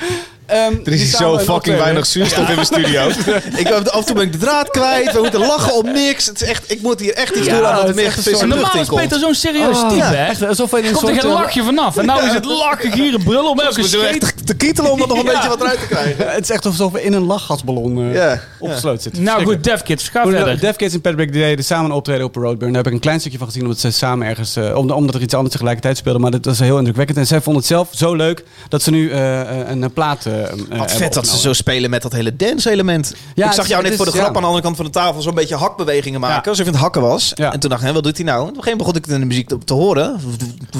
S7: Ehm,
S5: Er
S7: die
S5: is hier
S7: samen
S5: zo
S7: een
S5: fucking
S7: optreden.
S5: weinig zuurstof in mijn studio. eh, ik, af en toe ben ik de draad kwijt. We moeten lachen om niks. Het is echt, ik moet hier echt iets
S7: Ja,
S5: doen aan dat
S7: het
S5: er
S7: is
S5: meer
S7: echt een
S5: frisse
S7: soort-
S5: lucht
S6: Normaal
S5: in
S6: is
S5: komt.
S6: Peter zo'n serieus
S7: Oh,
S6: type,
S7: ja,
S6: hè?
S7: echt alsof hij in een
S6: Komt er
S7: soort...
S6: geen
S7: eh,
S6: lachje vanaf. En nou is het lachen, hier een brul op elke
S5: Dus We doen
S6: scheet.
S5: echt te kietelen om er nog een beetje wat uit te krijgen.
S7: Het is echt alsof we in een lachgasballon eh,
S5: Ja,
S7: opgesloten zitten.
S6: Nou goed,
S7: Verschrikkelijk.
S6: Dev Kids, ga
S7: Hoe dan ook,
S6: verder.
S7: Def Kids en Pat Brick die deden samen een optreden op Roadburn. Daar heb ik een klein stukje van gezien, omdat ze samen ergens, eh, om- omdat er iets anders tegelijkertijd speelde. Maar dat was heel indrukwekkend. En zij vonden het zelf zo leuk dat ze nu eh, eh, een eh, plaat. eh, eh,
S5: Wat nou?
S7: hebben
S5: vet dat ze
S7: opgenomen.
S5: zo spelen met dat hele dance-element.
S7: het
S5: ik zag
S7: is-
S5: jou
S7: het
S5: net voor de
S7: is-
S5: grap
S7: ja.
S5: aan de andere kant van de tafel zo'n beetje hakbewegingen maken.
S7: Ja.
S5: Alsof je aan het hakken was.
S7: Ja.
S5: En toen dacht ik, hè, wat doet hij nou? En op een gegeven moment begon ik het in de muziek te, te horen.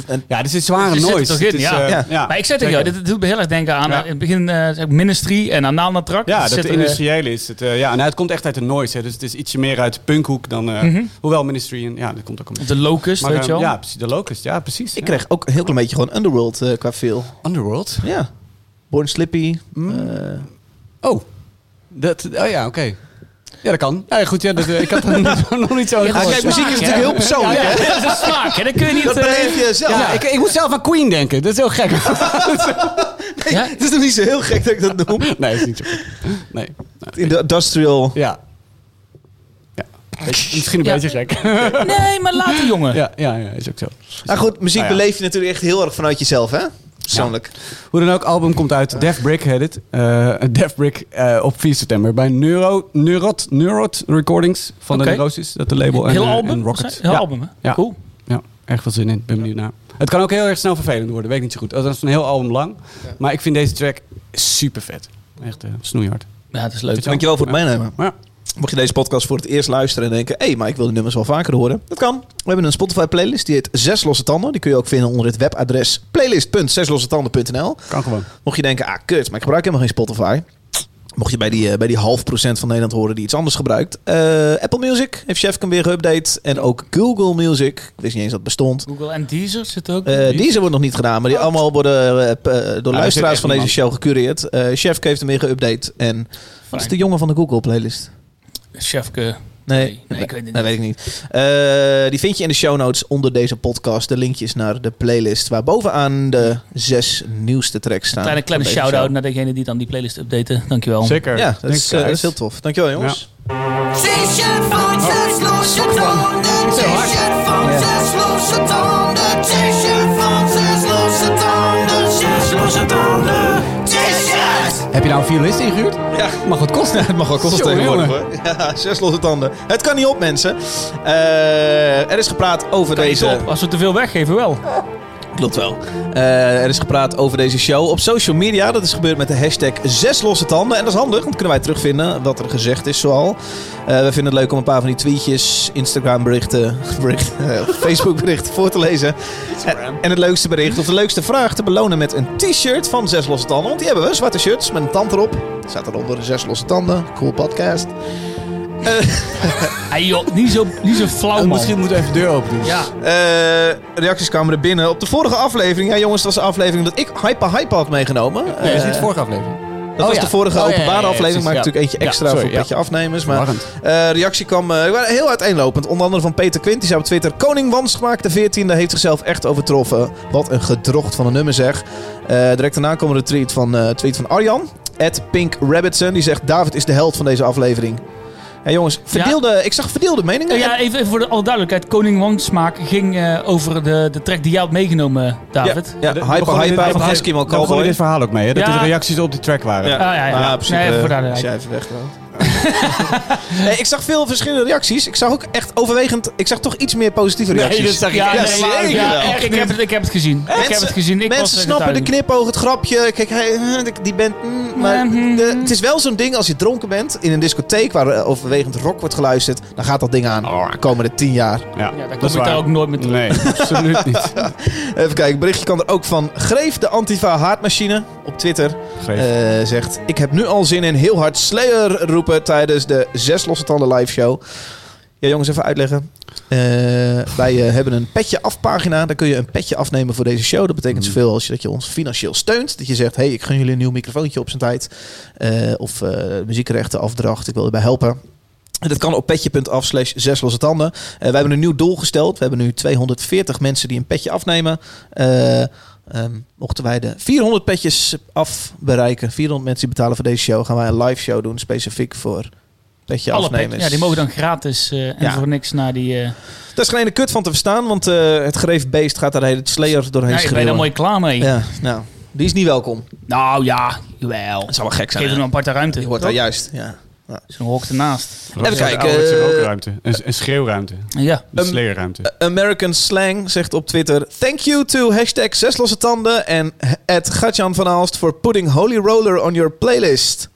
S5: En,
S7: Ja, dit is zware
S6: Je zit er
S7: noise.
S6: toch in,
S7: Het is,
S6: ja.
S7: eh,
S5: Ja.
S6: Maar ik zei tegen jou, dit, dit doet me heel erg denken aan
S7: Ja.
S6: eh, in het begin eh Ministry en aan Naalnatrak.
S7: Ja,
S6: Dat
S7: dat
S6: zit
S7: het
S6: er, eh,
S7: industriële is. Het, eh, ja, nou, het komt echt uit de noise. Hè, dus het is ietsje meer uit punkhoek dan. eh,
S6: Mhm.
S7: Hoewel Ministry en. Ja, dat komt ook een beetje.
S6: De Locust, weet
S7: eh,
S6: je wel.
S7: ja, precies. De Locust. Ja, precies.
S5: ik
S7: ja.
S5: kreeg ook een heel klein beetje gewoon Underworld eh, qua feel.
S7: Underworld.
S5: Ja. Born Slippy. eh, Ah,
S7: Oh. Dat, oh ja, oké. Ja, dat kan. Ja, goed, ja, dat, eh, ik had er nog- nog niet zo
S5: Ah,
S7: over.
S5: kijk, muziek is natuurlijk heel
S6: Ja,
S5: persoonlijk.
S6: ja,
S5: hè?
S6: dat is een smaak, hè. Dat kun je niet...
S5: Dat
S6: eh,
S5: beleef je zelf.
S7: Ja, ik, ik moet zelf aan Queen denken. Dat is heel gek.
S6: ja?
S5: Het is nog niet zo heel gek dat ik dat noem.
S7: Nee, dat is niet zo gek. Nee.
S5: In de industrial.
S7: Ja. ja. Beetje- Misschien een
S6: Ja.
S7: beetje gek.
S6: Nee, maar later, jongen.
S7: Ja, ja, ja, is ook zo.
S5: Nou goed, muziek
S7: Nou ja.
S5: beleef je natuurlijk echt heel erg vanuit jezelf, hè? Persoonlijk.
S7: Hoe dan ook, album komt uit. Def Brick heet het. Eh Def Brick eh, op 4 september bij Neuro, Neurot, Neurot Recordings van
S6: Oké.
S7: de Neurosis. Dat de label. en,
S6: Heel
S7: eh,
S6: album?
S7: en Rocket.
S6: Heel
S7: ja.
S6: album, hè?
S7: Ja.
S6: Cool.
S7: Ja, erg veel zin in. Ben benieuwd naar. Het kan ook heel erg snel vervelend worden. Weet ik niet zo goed. Dat is een heel album lang. Maar ik vind deze track super vet. Echt eh, snoeihard.
S6: Ja, het is leuk.
S5: Dus Dankjewel voor het meenemen.
S7: Maar ja,
S5: Mocht je deze podcast voor het eerst luisteren en denken... hé, hey, maar ik wil de nummers wel vaker horen. Dat kan. We hebben een Spotify-playlist die heet Zes Losse Tanden. Die kun je ook vinden onder het webadres playlist.zeslossetanden.nl.
S7: kan gewoon.
S5: Mocht je denken, ah kut, maar ik gebruik helemaal geen Spotify. Mocht je bij die, eh, bij die half procent van Nederland horen die iets anders gebruikt. eh, Apple Music heeft Chefkin weer geüpdate. En ook Google Music. Ik wist niet eens dat het bestond.
S6: Google en Deezer zit ook.
S5: Eh, deze wordt nog niet gedaan, maar die allemaal worden eh, p- eh, door
S7: zit
S5: luisteraars
S7: echt
S5: van deze
S7: niemand.
S5: show gecureerd. Eh Chef heeft hem weer geüpdate. En wat is de jongen van de Google playlist?
S6: Chefke.
S5: Nee,
S6: Nee, nee, ik weet het
S5: dat weet ik niet. Eh, die vind je in de show notes onder deze podcast. De linkjes naar de playlist, waar bovenaan de zes nieuwste tracks staan.
S6: Kleine, kleine
S5: van deze
S6: shout-out
S5: show.
S6: naar degene die dan die playlist updaten. Dankjewel.
S7: Zeker.
S5: Ja, dat
S7: Denk
S5: is, eh,
S7: ik
S5: dat
S7: uit.
S5: is heel tof. Dankjewel jongens.
S10: T-shirt van zes losse tanden. T-shirt van zes losse tanden. T-shirt van zes losse tanden. Zes losse tanden. T-shirt.
S7: je nou een violist ingehuurd?
S5: Ja.
S7: Mag wat kosten.
S5: Het mag wel kosten
S7: Jongen,
S5: tegenwoordig
S7: jongen.
S5: hoor. Ja, zes losse tanden. Het kan niet op, mensen. Eh, er is gepraat over deze.
S6: Als we te veel weggeven, wel.
S5: Klopt wel. Eh, er is gepraat over deze show op social media. Dat is gebeurd met de hashtag zes losse tanden. En dat is handig, want kunnen wij terugvinden wat er gezegd is zoal. Eh we vinden het leuk om een paar van die tweetjes, Instagram berichten, bericht, eh, Facebook berichten voor te lezen. En, en het leukste bericht of de leukste vraag te belonen met een t-shirt van zes losse tanden. Want die hebben we, zwarte shirts met een tand erop. Staat eronder zes losse tanden. Cool podcast.
S6: Hey joh, niet zo, niet zo flauw, man.
S7: Oh, Misschien moeten we even de deur open doen.
S6: Ja.
S5: Eh, reacties kwamen er binnen. Op de vorige aflevering, ja jongens, dat was de aflevering dat ik Hypa Hypa had meegenomen.
S7: Nee, dat is
S5: Eh,
S7: niet de vorige aflevering.
S5: dat was
S7: ja.
S5: de vorige
S7: Oh, ja, ja, ja,
S5: openbare aflevering,
S7: precies,
S5: maar
S7: ja.
S5: natuurlijk eentje
S7: Ja,
S5: extra
S7: sorry,
S5: voor
S7: ja.
S5: petje afnemers. Maar
S7: Verwarrend.
S5: eh, reactie kwam eh, waren heel uiteenlopend. Onder andere van Peter Quint, die zei op Twitter... Koning Wansgemaak, de 14e, heeft zichzelf echt overtroffen. Wat een gedrocht van een nummer zeg. Eh, direct daarna kwam er een tweet van, eh, tweet van Arjan. At Pink Rabbitson, die zegt... David is de held van deze aflevering. Ja jongens, verdeelde, ik zag verdeelde meningen.
S6: Eh, Ja, even, even voor de alle duidelijkheid. Koning Wansmaak ging eh, over de, de track die jij had meegenomen, David.
S5: Ja,
S7: We
S5: Hypa
S7: begonnen
S5: Hypa
S7: dit- we
S5: van
S7: begonnen-
S5: Eskimo
S7: Daar begonnen
S5: Cowboy.
S7: dit verhaal ook mee, hè? Dat
S6: Ja.
S7: de reacties op die track waren.
S6: Ah, ja, ja.
S5: Maar op zich,
S6: Nee, even
S5: eh,
S6: voor duidelijkheid.
S5: als jij even weg wil. Nee, ik zag veel verschillende reacties. Ik zag ook echt overwegend... Ik zag toch iets meer positieve reacties.
S7: zag
S6: Ja,
S5: Ja,
S6: nee,
S5: zeker
S6: maar- ja,
S5: wel.
S6: echt, ik, heb het, ik heb het gezien. ik heb het gezien. Ik
S5: mensen
S6: was er
S5: snappen de
S6: getuige.
S5: knipoog, het grapje. Kijk, hij, eh, die- die band... mm, maar
S6: Mhm.
S5: de- het is wel zo'n ding als je dronken bent in een discotheek... waar eh, overwegend rock wordt geluisterd. Dan gaat dat ding aan. de komende tien jaar.
S7: Ja,
S6: Ja, daar
S7: dat
S6: kom
S7: is
S6: ik
S7: waar.
S6: daar ook nooit meer terug.
S7: Nee, absoluut niet.
S5: Even kijken, berichtje kan er ook van. Greef de Antifa haatmachine op Twitter.
S7: Greef.
S5: eh, zegt, ik heb nu al zin in heel hard Slayer roepen tijdens de Zes Losse Tanden live show. Ja jongens, even uitleggen. Eh, wij eh, hebben een petje afpagina. Daar kun je een petje afnemen voor deze show. Dat betekent zoveel als je, dat je ons financieel steunt. Dat je zegt, hey, ik gun jullie een nieuw microfoontje op zijn tijd. Eh, of eh, muziekrechten, afdracht, ik wil erbij helpen. En Dat kan op petje.af slash zes losse tanden. Eh, wij hebben een nieuw doel gesteld. We hebben nu 240 mensen die een petje afnemen. Eh, ehm, mochten wij de 400 petjes af bereiken, 400 mensen die betalen voor deze show, gaan wij een live show doen specifiek voor petje
S6: Alle
S5: afnemers.
S6: pet- ja, die mogen dan gratis eh, en
S5: Ja.
S6: voor niks naar die... eh
S5: Daar is geen ene kut van te verstaan, want eh, het gereef beest gaat daar de hele Slayer doorheen
S6: nee, ik ben
S5: schreeuwen.
S6: daar mooi klaar mee.
S5: Ja, nou, die is niet welkom.
S6: Nou ja, jawel.
S5: Dat zou wel gek zijn.
S6: Geef
S5: hè?
S6: hem een aparte ruimte.
S5: Die hoort daar juist. Ja.
S6: Zo'n hok ernaast.
S7: Even
S5: kijken, eh,
S7: Een, een schreeuwruimte.
S6: Ja.
S7: Een
S5: Ehm,
S7: sleerruimte.
S5: American Slang zegt op Twitter... Thank you to hashtag zes losse tanden en at Gatjan van Aalst... for putting Holy Roller on your playlist.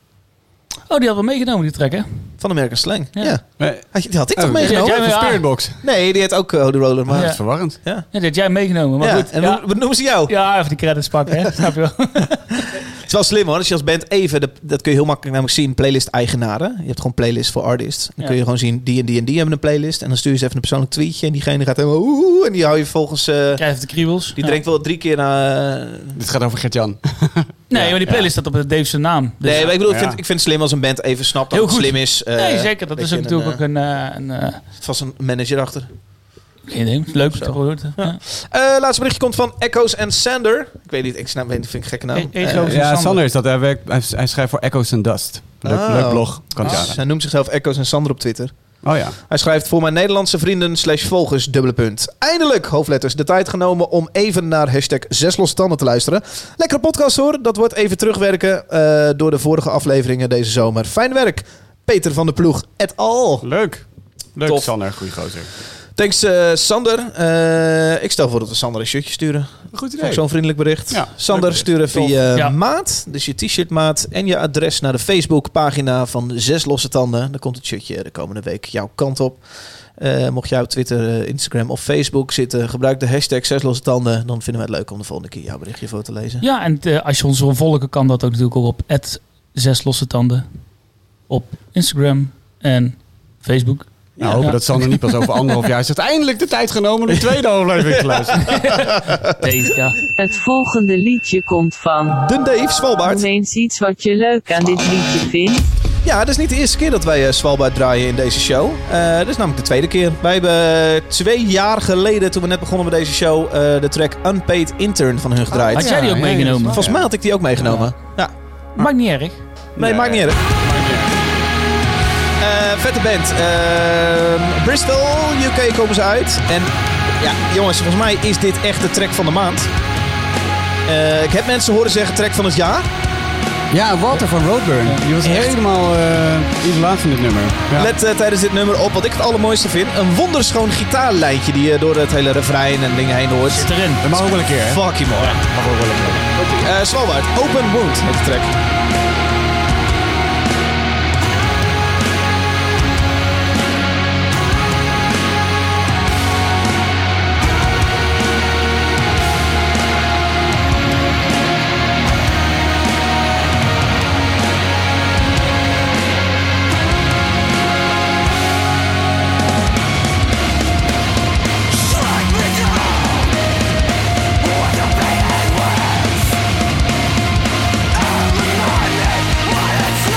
S6: Oh, die hadden we meegenomen, die track, hè?
S5: Van American Slang, ja.
S6: Ja.
S7: Nee,
S5: Had je- die had ik eh, toch
S7: oh,
S5: meegenomen?
S6: ja,
S7: Even
S6: ja.
S7: Spiritbox. Dat
S5: Nee, die had ook eh, Holy Roller, maar...
S7: is
S5: Ja.
S7: verwarrend.
S6: Ja, die had jij meegenomen, maar goed.
S5: en
S6: ja.
S5: hoe- hoe noemen ze jou?
S6: ja, even die credits pakken, hè? Snap je wel?
S5: Het is wel slim hoor, als je als band even, de- dat kun je heel makkelijk namelijk zien, playlist-eigenaren. Je hebt gewoon playlist voor artists. Dan
S6: Ja.
S5: kun je gewoon zien, die en die en die hebben een playlist. En dan stuur je ze even een persoonlijk tweetje en diegene gaat helemaal oeh, oeh, en die hou je volgens... eh,
S6: Krijg even de kriebels.
S5: die
S6: Ja.
S5: drinkt wel drie keer naar... eh,
S7: Dit gaat over Gert-Jan.
S6: Nee, maar die playlist staat op Dave's naam. Dus-
S5: nee, maar ik bedoel, ik,
S7: Ja.
S5: vind, ik vind het slim als een band even snapt dat
S6: Heel
S5: het
S6: goed.
S5: slim is. eh,
S6: nee, zeker. Dat
S5: weet
S6: is
S5: je,
S6: ook natuurlijk
S5: en,
S6: ook een... eh, een eh,
S5: eh, vast een manager achter.
S6: geen idee, leuk te horen. Ja.
S5: Eh, laatste berichtje komt van Echoes and Sander. Ik weet niet, ik snap, weet, niet, vind ik een gekke naam.
S6: E- Echoes
S5: Eh,
S6: Sander.
S7: Ja, Sander is dat. Hij, werkt, hij, hij schrijft voor Echoes and Dust. Leuk,
S5: Oh.
S7: leuk blog. Kan ik
S5: dus
S7: aanraden.
S5: hij noemt zichzelf Echoes en Sander op Twitter.
S7: Oh ja.
S5: Hij schrijft voor mijn Nederlandse vrienden slash volgers, dubbele punt. Eindelijk, hoofdletters, de tijd genomen om even naar hashtag zes losse tanden te luisteren. Lekkere podcast hoor, dat wordt even terugwerken eh, door de vorige afleveringen deze zomer. Fijn werk, Peter van de Ploeg et al.
S7: Leuk. Leuk,
S5: Tof.
S7: Sander. Goeie gozer.
S5: Thanks eh, Sander. Eh, ik stel voor dat we Sander een shirtje sturen.
S7: Goed
S5: Ook Zo'n vriendelijk bericht.
S7: Ja,
S5: Sander,
S7: leuk
S5: sturen
S7: bericht.
S5: via
S6: Ja.
S5: maat, dus je t-shirtmaat en je adres naar de Facebookpagina van Zes Losse Tanden. Dan komt het shirtje de komende week jouw kant op. Eh, mocht jij op Twitter, eh, Instagram of Facebook zitten, gebruik de hashtag Zes Losse Tanden. Dan vinden we het leuk om de volgende keer jouw berichtje voor te lezen.
S6: Ja, en eh, als je ons wil volgen, kan dat ook natuurlijk ook op zes losse tanden. Op Instagram en Facebook.
S7: Nou, hopen
S6: Ja.
S7: dat Sander niet pas over anderhalf jaar zegt... eindelijk de tijd genomen om de tweede aflevering te luisteren.
S6: Deze, ja.
S8: Het volgende liedje komt van.
S5: De Dave Swalbaard.
S8: Noem eens iets wat je leuk aan dit liedje vindt.
S5: Ja, dat is niet de eerste keer dat wij eh Swalbaard draaien in deze show. Eh dat is namelijk de tweede keer. Wij hebben eh, twee jaar geleden, toen we net begonnen met deze show, eh, de track Unpaid Intern van hun gedraaid.
S6: Had jij die ook
S7: Ah, ja, ja,
S6: meegenomen?
S7: ja.
S5: Volgens mij had ik die ook meegenomen. Ja.
S6: Maakt niet erg.
S5: Nee,
S7: Ja,
S5: maakt niet
S7: ja.
S5: uit. Eh, vette band. Ehm, Bristol, UK komen ze uit. En ja, jongens, volgens mij is dit echt de track van de maand. Eh, ik heb mensen horen zeggen track van het jaar.
S7: Ja, Walter van Roadburn. Die was helemaal eh idolaat van dit nummer. Ja.
S5: Let eh, tijdens dit nummer op wat ik het allermooiste vind. Een wonderschoon gitaarlijntje die je door het hele refrein en dingen heen hoort. Zit
S6: erin.
S7: dat mag ook wel een keer, hè?
S5: Fucking mooi.
S9: Mag ook wel een keer.
S5: Eh, Svalbard, Open Wound heet de track.
S10: What the pain and waste. Every night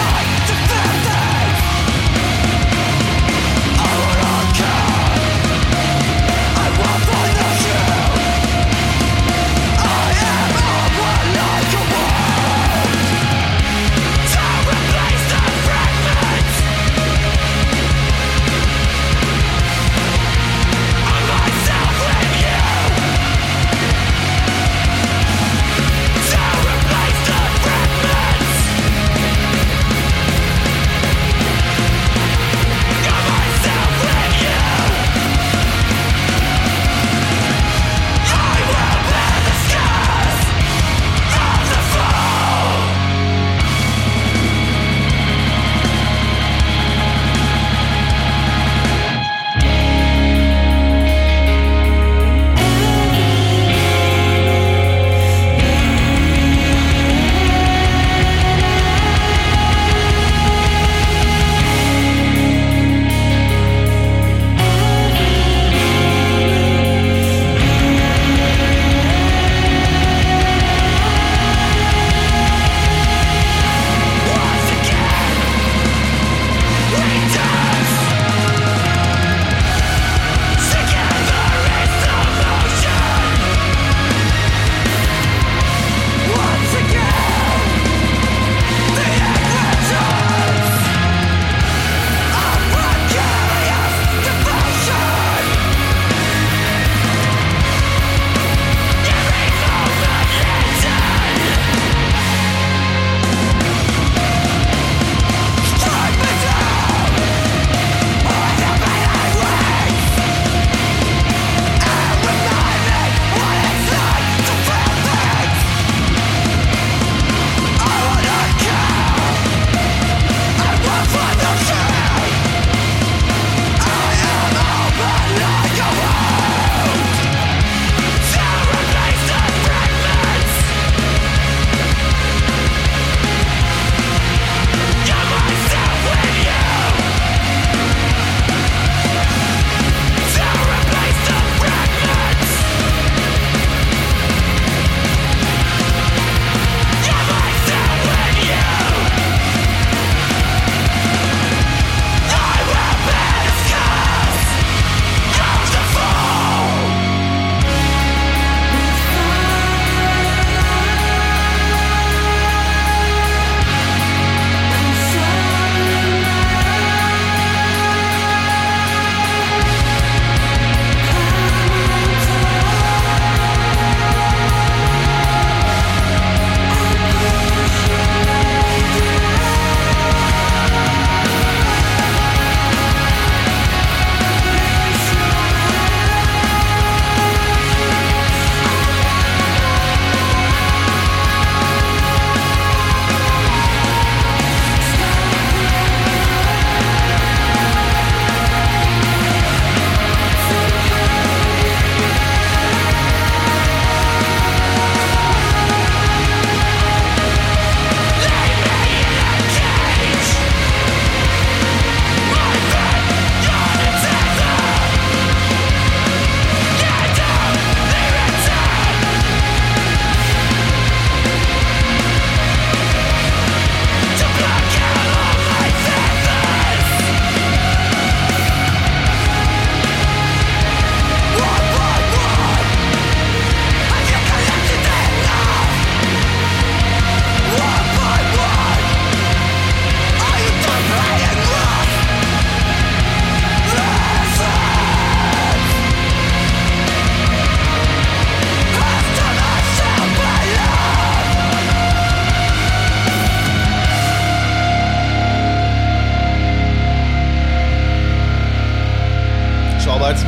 S5: Allard.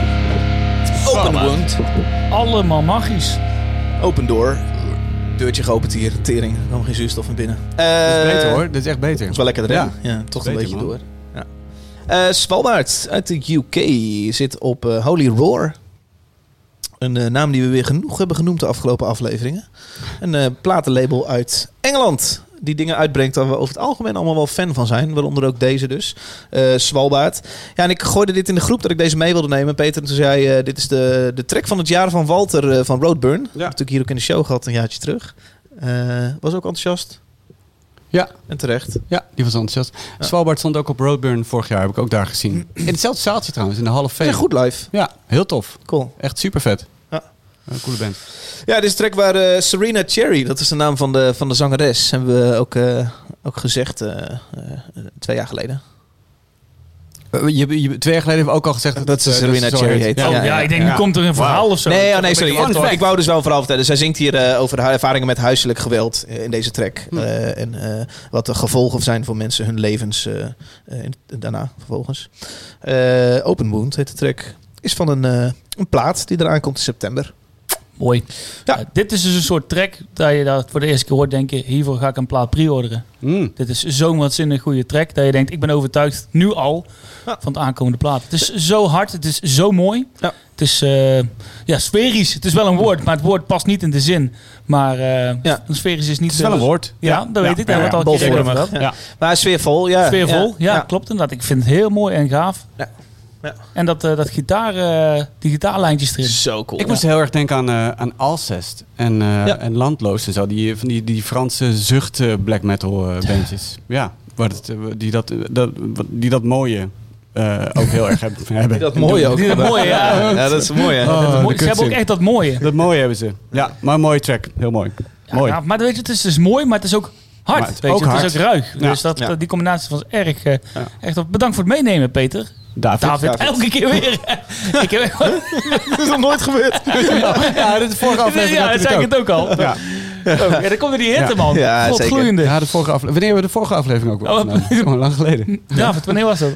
S5: Open wound.
S6: Allemaal magisch.
S5: Open door. Deurtje geopend hier. Tering. Er kwam geen zuurstof in binnen. Eh,
S7: Dit is beter hoor, dit is echt beter.
S5: Dat is wel lekker erin. Ja,
S7: Ja.
S5: toch
S7: Beter,
S5: een beetje
S7: man.
S5: door. Ja. Eh, Svalbaard uit de UK zit op eh, Holy Roar. Een eh, naam die we weer genoeg hebben genoemd de afgelopen afleveringen. Een eh, platenlabel uit Engeland. Die dingen uitbrengt waar we over het algemeen allemaal wel fan van zijn. Waaronder ook deze dus. eh Svalbaard. Ja, en ik gooide dit in de groep dat ik deze mee wilde nemen. Peter toen zei, eh, dit is de, de track van het jaar van Walter eh, van Roadburn. Dat heb ik natuurlijk hier ook in de show gehad een jaartje terug. Eh, was ook enthousiast.
S7: Ja.
S5: En terecht.
S7: Ja, die was enthousiast. Svalbard stond ook op Roadburn vorig jaar, heb ik ook daar gezien. In hetzelfde zaaltje trouwens, in de Hall of
S5: Ja,
S7: Fame.
S5: goed live.
S7: Ja, heel tof.
S5: Cool.
S7: Echt super vet.
S5: Ja.
S7: Een coole band.
S5: Ja, dit is een track waar eh, Serena Cherry, dat is de naam van de, van de zangeres, hebben we ook, eh, ook gezegd eh, eh, twee jaar geleden.
S7: Eh, Je, je, twee jaar geleden hebben we ook al gezegd dat,
S5: Dat ze
S7: eh,
S5: Serena
S7: zo
S5: Cherry heet. Ja,
S6: Oh, ja,
S5: ja,
S6: ik denk,
S7: ja.
S6: nu komt er een verhaal of zo.
S5: Nee, oh, nee, sorry.
S7: fun
S5: Ik,
S7: fact.
S5: ik wou dus wel een verhaal vertellen. Zij zingt hier eh, over haar ervaringen met huiselijk geweld eh, in deze track.
S6: Hm.
S5: Eh, en eh, wat de gevolgen zijn voor mensen, hun levens eh, eh, in- daarna vervolgens. Eh, Open Wound heet de track. Is van een, eh, een plaat die eraan komt in september.
S6: Mooi.
S5: Ja.
S6: Ja. dit is dus een soort track dat je dat voor de eerste keer hoort denken, hiervoor ga ik een plaat pre-orderen.
S7: Mm.
S6: Dit is zo'n waanzinnig goede track dat je denkt, ik ben overtuigd nu al
S5: Ja.
S6: van het aankomende plaat. Het is zo hard, het is zo mooi.
S5: Ja.
S6: Het is eh, ja, sferisch. Het is wel een woord, maar het woord past niet in de zin. Maar eh,
S5: Ja.
S6: sferisch is niet...
S7: Het is wel een woord.
S6: Ja, dat weet ik.
S7: ja,
S6: Ja,
S7: ja.
S6: wat al een keer
S5: Bolvorm,
S6: eerder
S5: ja.
S6: mag. Ja.
S5: Maar sfeervol, ja.
S6: Sfeervol, ja, klopt inderdaad. Ik vind het heel mooi en gaaf.
S5: Ja. Ja.
S6: En dat, eh, dat gitaar, eh, die gitaarlijntjes erin.
S5: Zo cool.
S7: Ik moest heel erg denken aan, eh, aan Alcest en, eh,
S5: Ja.
S7: en Landloos en zo. Die, eh, van die, die Franse zucht eh, black metal eh, bandjes. Ja, waar het, eh, die, dat, eh, dat, wat- die dat mooie eh, ook heel erg hebben. hebben.
S5: Dat mooie ook.
S6: Die- dat mooie, ja.
S5: Ja, dat is mooi, hè?
S7: Oh,
S6: Dat
S7: de
S6: mooie- ze hebben ook
S7: kutzin.
S6: echt dat mooie.
S7: Dat mooie hebben ze. Ja, maar een mooie track. Heel mooi.
S6: Ja,
S7: mooi.
S6: gaaf. maar weet je, het is dus mooi, maar het is ook hard.
S7: Maar het-
S6: weet je.
S7: ook
S6: Het
S7: hard.
S6: is ook ruig.
S7: Ja.
S6: Dus dat,
S5: Ja.
S6: die combinatie was erg. eh,
S7: Ja.
S6: echt op. Bedankt voor het meenemen, Peter.
S7: David.
S6: David,
S5: David.
S6: elke keer weer. ik heb,
S5: Dat is nog nooit gebeurd.
S7: Ja, dit is de vorige aflevering.
S6: ja,
S7: had
S6: dat
S7: hij
S6: zei ik
S7: dit
S6: het ook al.
S7: ook. Ja.
S6: Ja, dan komt er die hitte,
S7: Ja.
S6: man.
S5: Ja,
S6: Ja,
S5: zeker.
S6: gloeiende.
S7: Ja, de vorige aflevering. Wanneer hebben we de vorige aflevering ook wel
S6: Oh,
S7: gedaan? Dat is Gewoon lang geleden.
S6: David, wanneer was dat?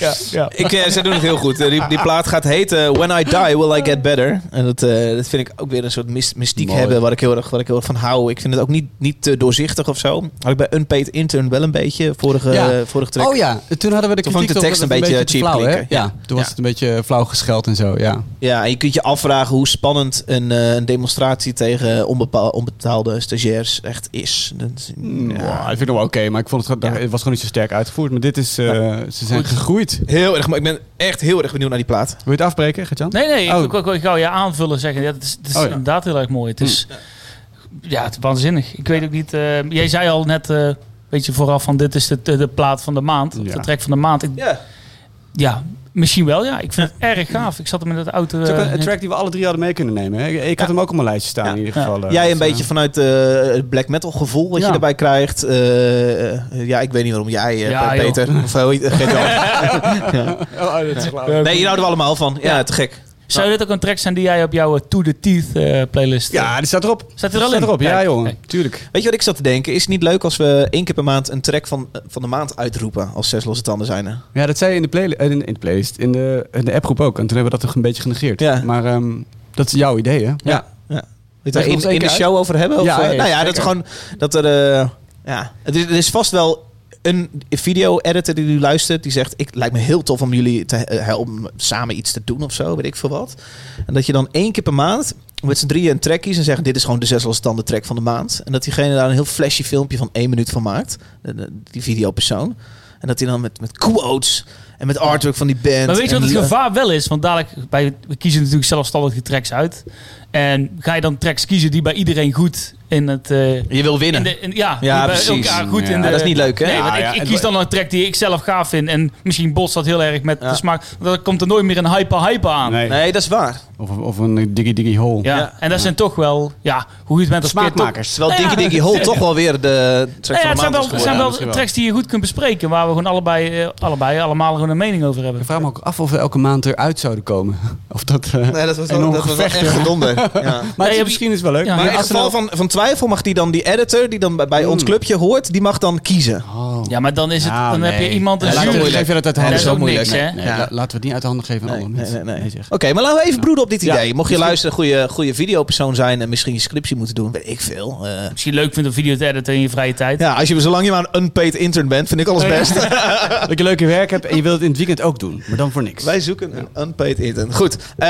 S6: Ja. Ja.
S5: Ik, eh, ze doen het heel goed. Eh, Die, die plaat gaat heten eh, When I Die Will I Get Better. En dat, eh, dat vind ik ook weer een soort mys- mystiek
S7: Mooi.
S5: hebben waar ik, heel erg, waar ik heel erg van hou. Ik vind het ook niet, niet te doorzichtig of zo. Had ik bij Unpaid Intern wel een beetje vorige,
S7: Ja.
S5: eh, vorige track.
S7: Oh ja, toen hadden we de
S5: Toen
S7: kritiek
S5: vond ik de
S7: op
S5: tekst
S7: dat
S5: een
S7: het
S5: beetje
S7: te
S5: cheap
S7: flauw, hè?
S5: klinken.
S7: Ja, toen was
S5: Ja.
S7: het een beetje eh, flauw gescheld en zo. Ja.
S5: Ja, en je kunt je afvragen hoe spannend een, eh, een demonstratie tegen onbepaal- onbetaalde stagiairs echt is. Dat is-
S7: Ja.
S5: ja.
S7: ik vind het wel oké, maar ik vond het,
S5: Ja.
S7: het was gewoon niet zo sterk uitgevoerd. Maar dit is, eh, ze zijn gegroeid. Wil
S5: Heel erg, maar ik ben echt heel erg benieuwd naar die plaat.
S7: je het afbreken, Gertjan?
S6: Nee, nee, ik-
S7: Oh.
S6: ik, ik, ik wou je aanvullen zeggen. Ja, het is, het is
S7: Oh, ja. Hm.
S6: inderdaad heel erg mooi. Het is, ja, het is waanzinnig. Ik weet ook niet, eh, jij zei al net, eh weet je, vooraf van dit is de, de, de plaat van de maand. of
S7: Ja.
S6: De track van de maand. Ik- ja.
S5: Ja,
S6: misschien wel, ja. Ik vind het erg gaaf. Ik zat hem in dat auto...
S7: Het is ook
S6: eh,
S7: een, een track die we alle drie hadden mee kunnen nemen. Hè? Ik ik had hem ook op mijn lijstje staan
S5: Ja.
S7: in ieder
S6: Ja.
S7: geval. eh,
S5: Jij
S7: dus,
S5: een beetje
S7: eh,
S5: vanuit eh, het black metal gevoel wat je
S6: Ja.
S5: erbij krijgt. Eh, eh, ja, ik weet niet waarom jij, eh,
S6: Ja,
S5: Pe-
S6: joh.
S5: Peter. Of hoe heet- eh, Gertjan.
S7: Oh, dat is flauw.
S5: Nee, je houdt er allemaal van. Ja, te gek.
S6: Zou dit ook een track zijn die jij op jouw eh, To The Teeth eh, playlist... eh,
S7: Ja, die staat erop.
S6: Staat er al in?
S7: erop, ja
S6: Kijk,
S7: jongen.
S6: kijk.
S7: Tuurlijk.
S5: Weet je wat ik zat te denken? Is het niet leuk als we één keer per maand een track van, eh, van de maand uitroepen als zes losse tanden zijn? er?
S7: Ja, dat zei je in de, play, eh, in, in de playlist, in de, in de appgroep ook. En toen hebben we dat toch een beetje genegeerd.
S5: Ja.
S7: Maar ehm, dat is jouw idee, hè?
S5: Ja. Weet je
S7: Leg
S5: daar
S7: nog
S5: in, in
S7: eens één
S5: de
S7: keer uit?
S5: show over hebben? Of,
S7: Ja,
S5: eh,
S7: ja, ja,
S5: nou ja, dat
S7: zeker.
S5: gewoon dat er. eh, ja, het is, er is vast wel een video-editor die nu luistert. Die zegt: Ik lijkt me heel tof om jullie te, eh, om samen iets te doen of zo, weet ik veel wat. En dat je dan één keer per maand met z'n drieën een track kiest en zegt: Dit is gewoon de zes losstanden track van de maand. En dat diegene daar een heel flashy filmpje van één minuut van maakt. de- de- Die videopersoon. En dat hij dan met, met quotes en met artwork van die band.
S6: Maar weet je
S5: en
S6: wat
S7: eh,
S6: het
S5: die- eh,
S6: gevaar wel is? Want dadelijk, bij, we kiezen natuurlijk zelfstandig die tracks uit. En ga je dan tracks kiezen die bij iedereen goed in het... eh,
S5: Je wil winnen.
S6: In de, in- ja,
S5: Ja,
S6: die bij
S5: precies.
S6: elkaar goed
S7: Ja,
S6: in de...
S5: Ja, dat is niet leuk, hè?
S6: Nee, want
S7: Ja,
S6: ik,
S7: Ah, ja,
S6: ik
S7: en-
S6: kies dan een track die ik zelf gaaf vind. En misschien botst dat heel erg met
S5: Ja.
S6: de smaak. Want dan komt er nooit meer een hyper-hyper aan.
S7: Nee.
S5: Nee, dat is waar.
S7: Of, of een diggy diggy hole.
S6: Ja.
S5: Ja.
S6: En dat zijn toch wel, ja, hoe je het bent als keer toch-
S7: Smaakmakers.
S5: Terwijl
S6: Nou Ja, ja.
S5: Dinky Dinky Hole toch wel weer de track
S6: Nou ja,
S5: van
S6: het
S5: de
S6: zijn
S5: maand is
S6: wel, het
S5: geworden.
S6: zijn wel
S7: misschien wel.
S6: tracks die je goed kunt bespreken. Waar we gewoon allebei, eh, allebei allemaal gewoon gewoon een mening over hebben.
S7: Ik vraag me ook af of we elke maand eruit zouden komen. Of dat... eh,
S5: Nee, dat was wel,
S7: enorm
S5: dat was wel
S7: gevecht,
S5: echt
S7: ja.
S5: gedonder. Ja.
S7: Maar het
S6: je-
S7: is misschien is wel leuk.
S6: Ja,
S5: Maar in
S7: als er
S5: geval van, van twijfel mag die dan, die editor die dan bij, bij ons clubje hoort, die mag dan kiezen.
S7: nou- Oh.
S6: Ja, maar dan is het,
S7: Ja,
S6: dan heb je
S7: nee.
S6: iemand een
S7: Ja, laten we-
S6: jury.
S7: geef je dat uit de
S6: Ja,
S7: handen.
S6: dat is ook niks, hè?
S7: Nee,
S5: Ja.
S7: la- laten we het niet uit de handen geven aan
S5: Nee,
S7: alle
S5: nee,
S7: mensen.
S5: nee, nee. Oké,
S7: zeg.
S5: maar laten we even broeden op dit
S7: Ja.
S5: idee. Mocht je luisteren, goede, goede videopersoon zijn en misschien je scriptie moeten doen, weet ik veel. Eh,
S6: Als je leuk vindt om video te editen in je vrije tijd.
S5: ja, als je zolang je maar een unpaid intern bent, vind ik alles best.
S7: Dat je leuke werk hebt en je wilt het in het weekend ook doen. Maar dan voor niks.
S5: Wij zoeken een unpaid intern. Goed, eh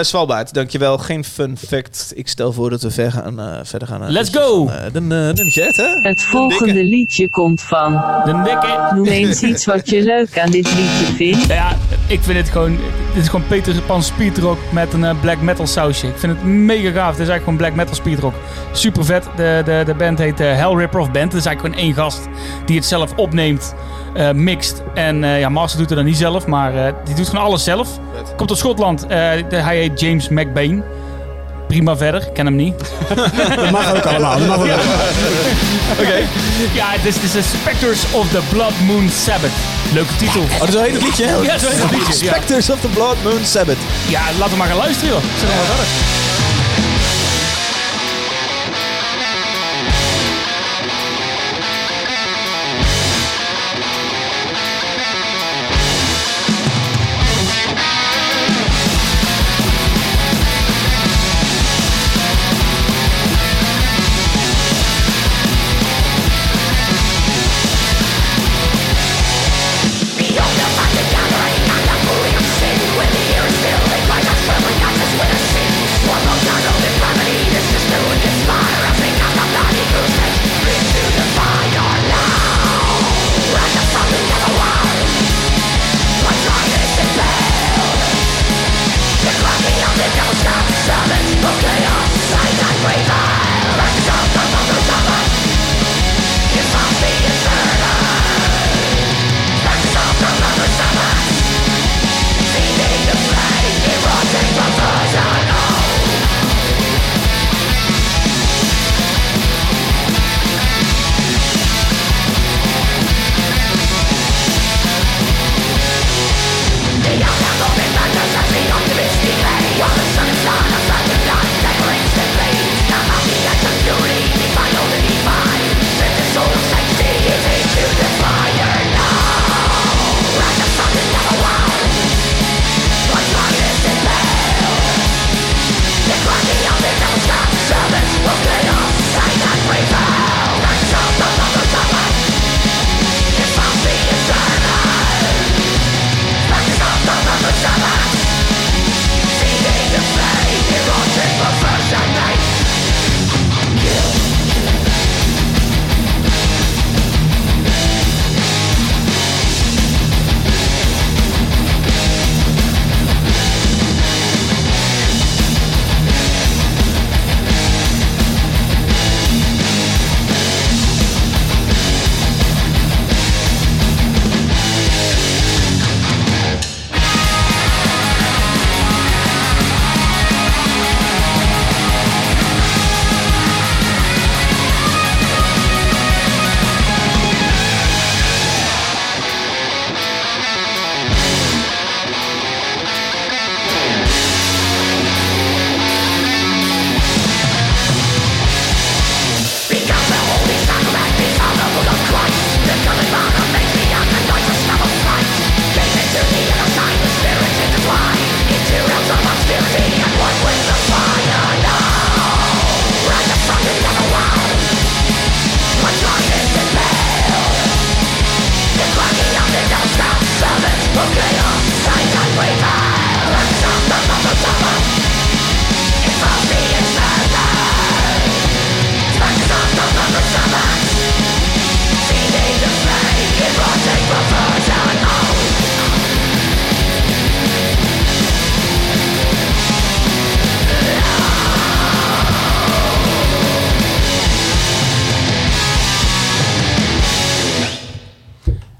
S5: Swalbaard, dankjewel. Geen fun fact. Ik stel voor dat we ver gaan, eh, verder gaan. naar
S6: Let's
S5: het
S6: go.
S5: van, eh, de eh, nummertje het, hè?
S8: Het volgende liedje komt van.
S6: De dikke.
S8: Noem eens iets wat je leuk aan dit liedje vindt.
S6: Nou ja, ik vind het gewoon... Dit is gewoon Peter Pan speedrock met een eh, black metal sausje. Ik vind het mega gaaf. Het is eigenlijk gewoon black metal speedrock. Super vet. De, de, de band heet eh, Hell Ripper of Band. Het is eigenlijk gewoon één gast die het zelf opneemt, eh, mixt. En eh, ja, Master doet het dan niet zelf, maar eh, die doet gewoon alles zelf. Komt uit Schotland. Eh, de- hij heet James McBain. Prima verder, Ik ken hem niet.
S7: Dat mag ook allemaal. Dat mag ook allemaal.
S6: Ja, het is, het is de Spectres of the Blood Moon Sabbath. Leuke titel.
S5: Oh, zo heet het liedje, hè?
S6: Ja, zo heet het liedje, ja.
S5: Spectres of the Blood Moon Sabbath.
S6: Ja, laten we maar gaan luisteren, joh. Zeg maar verder.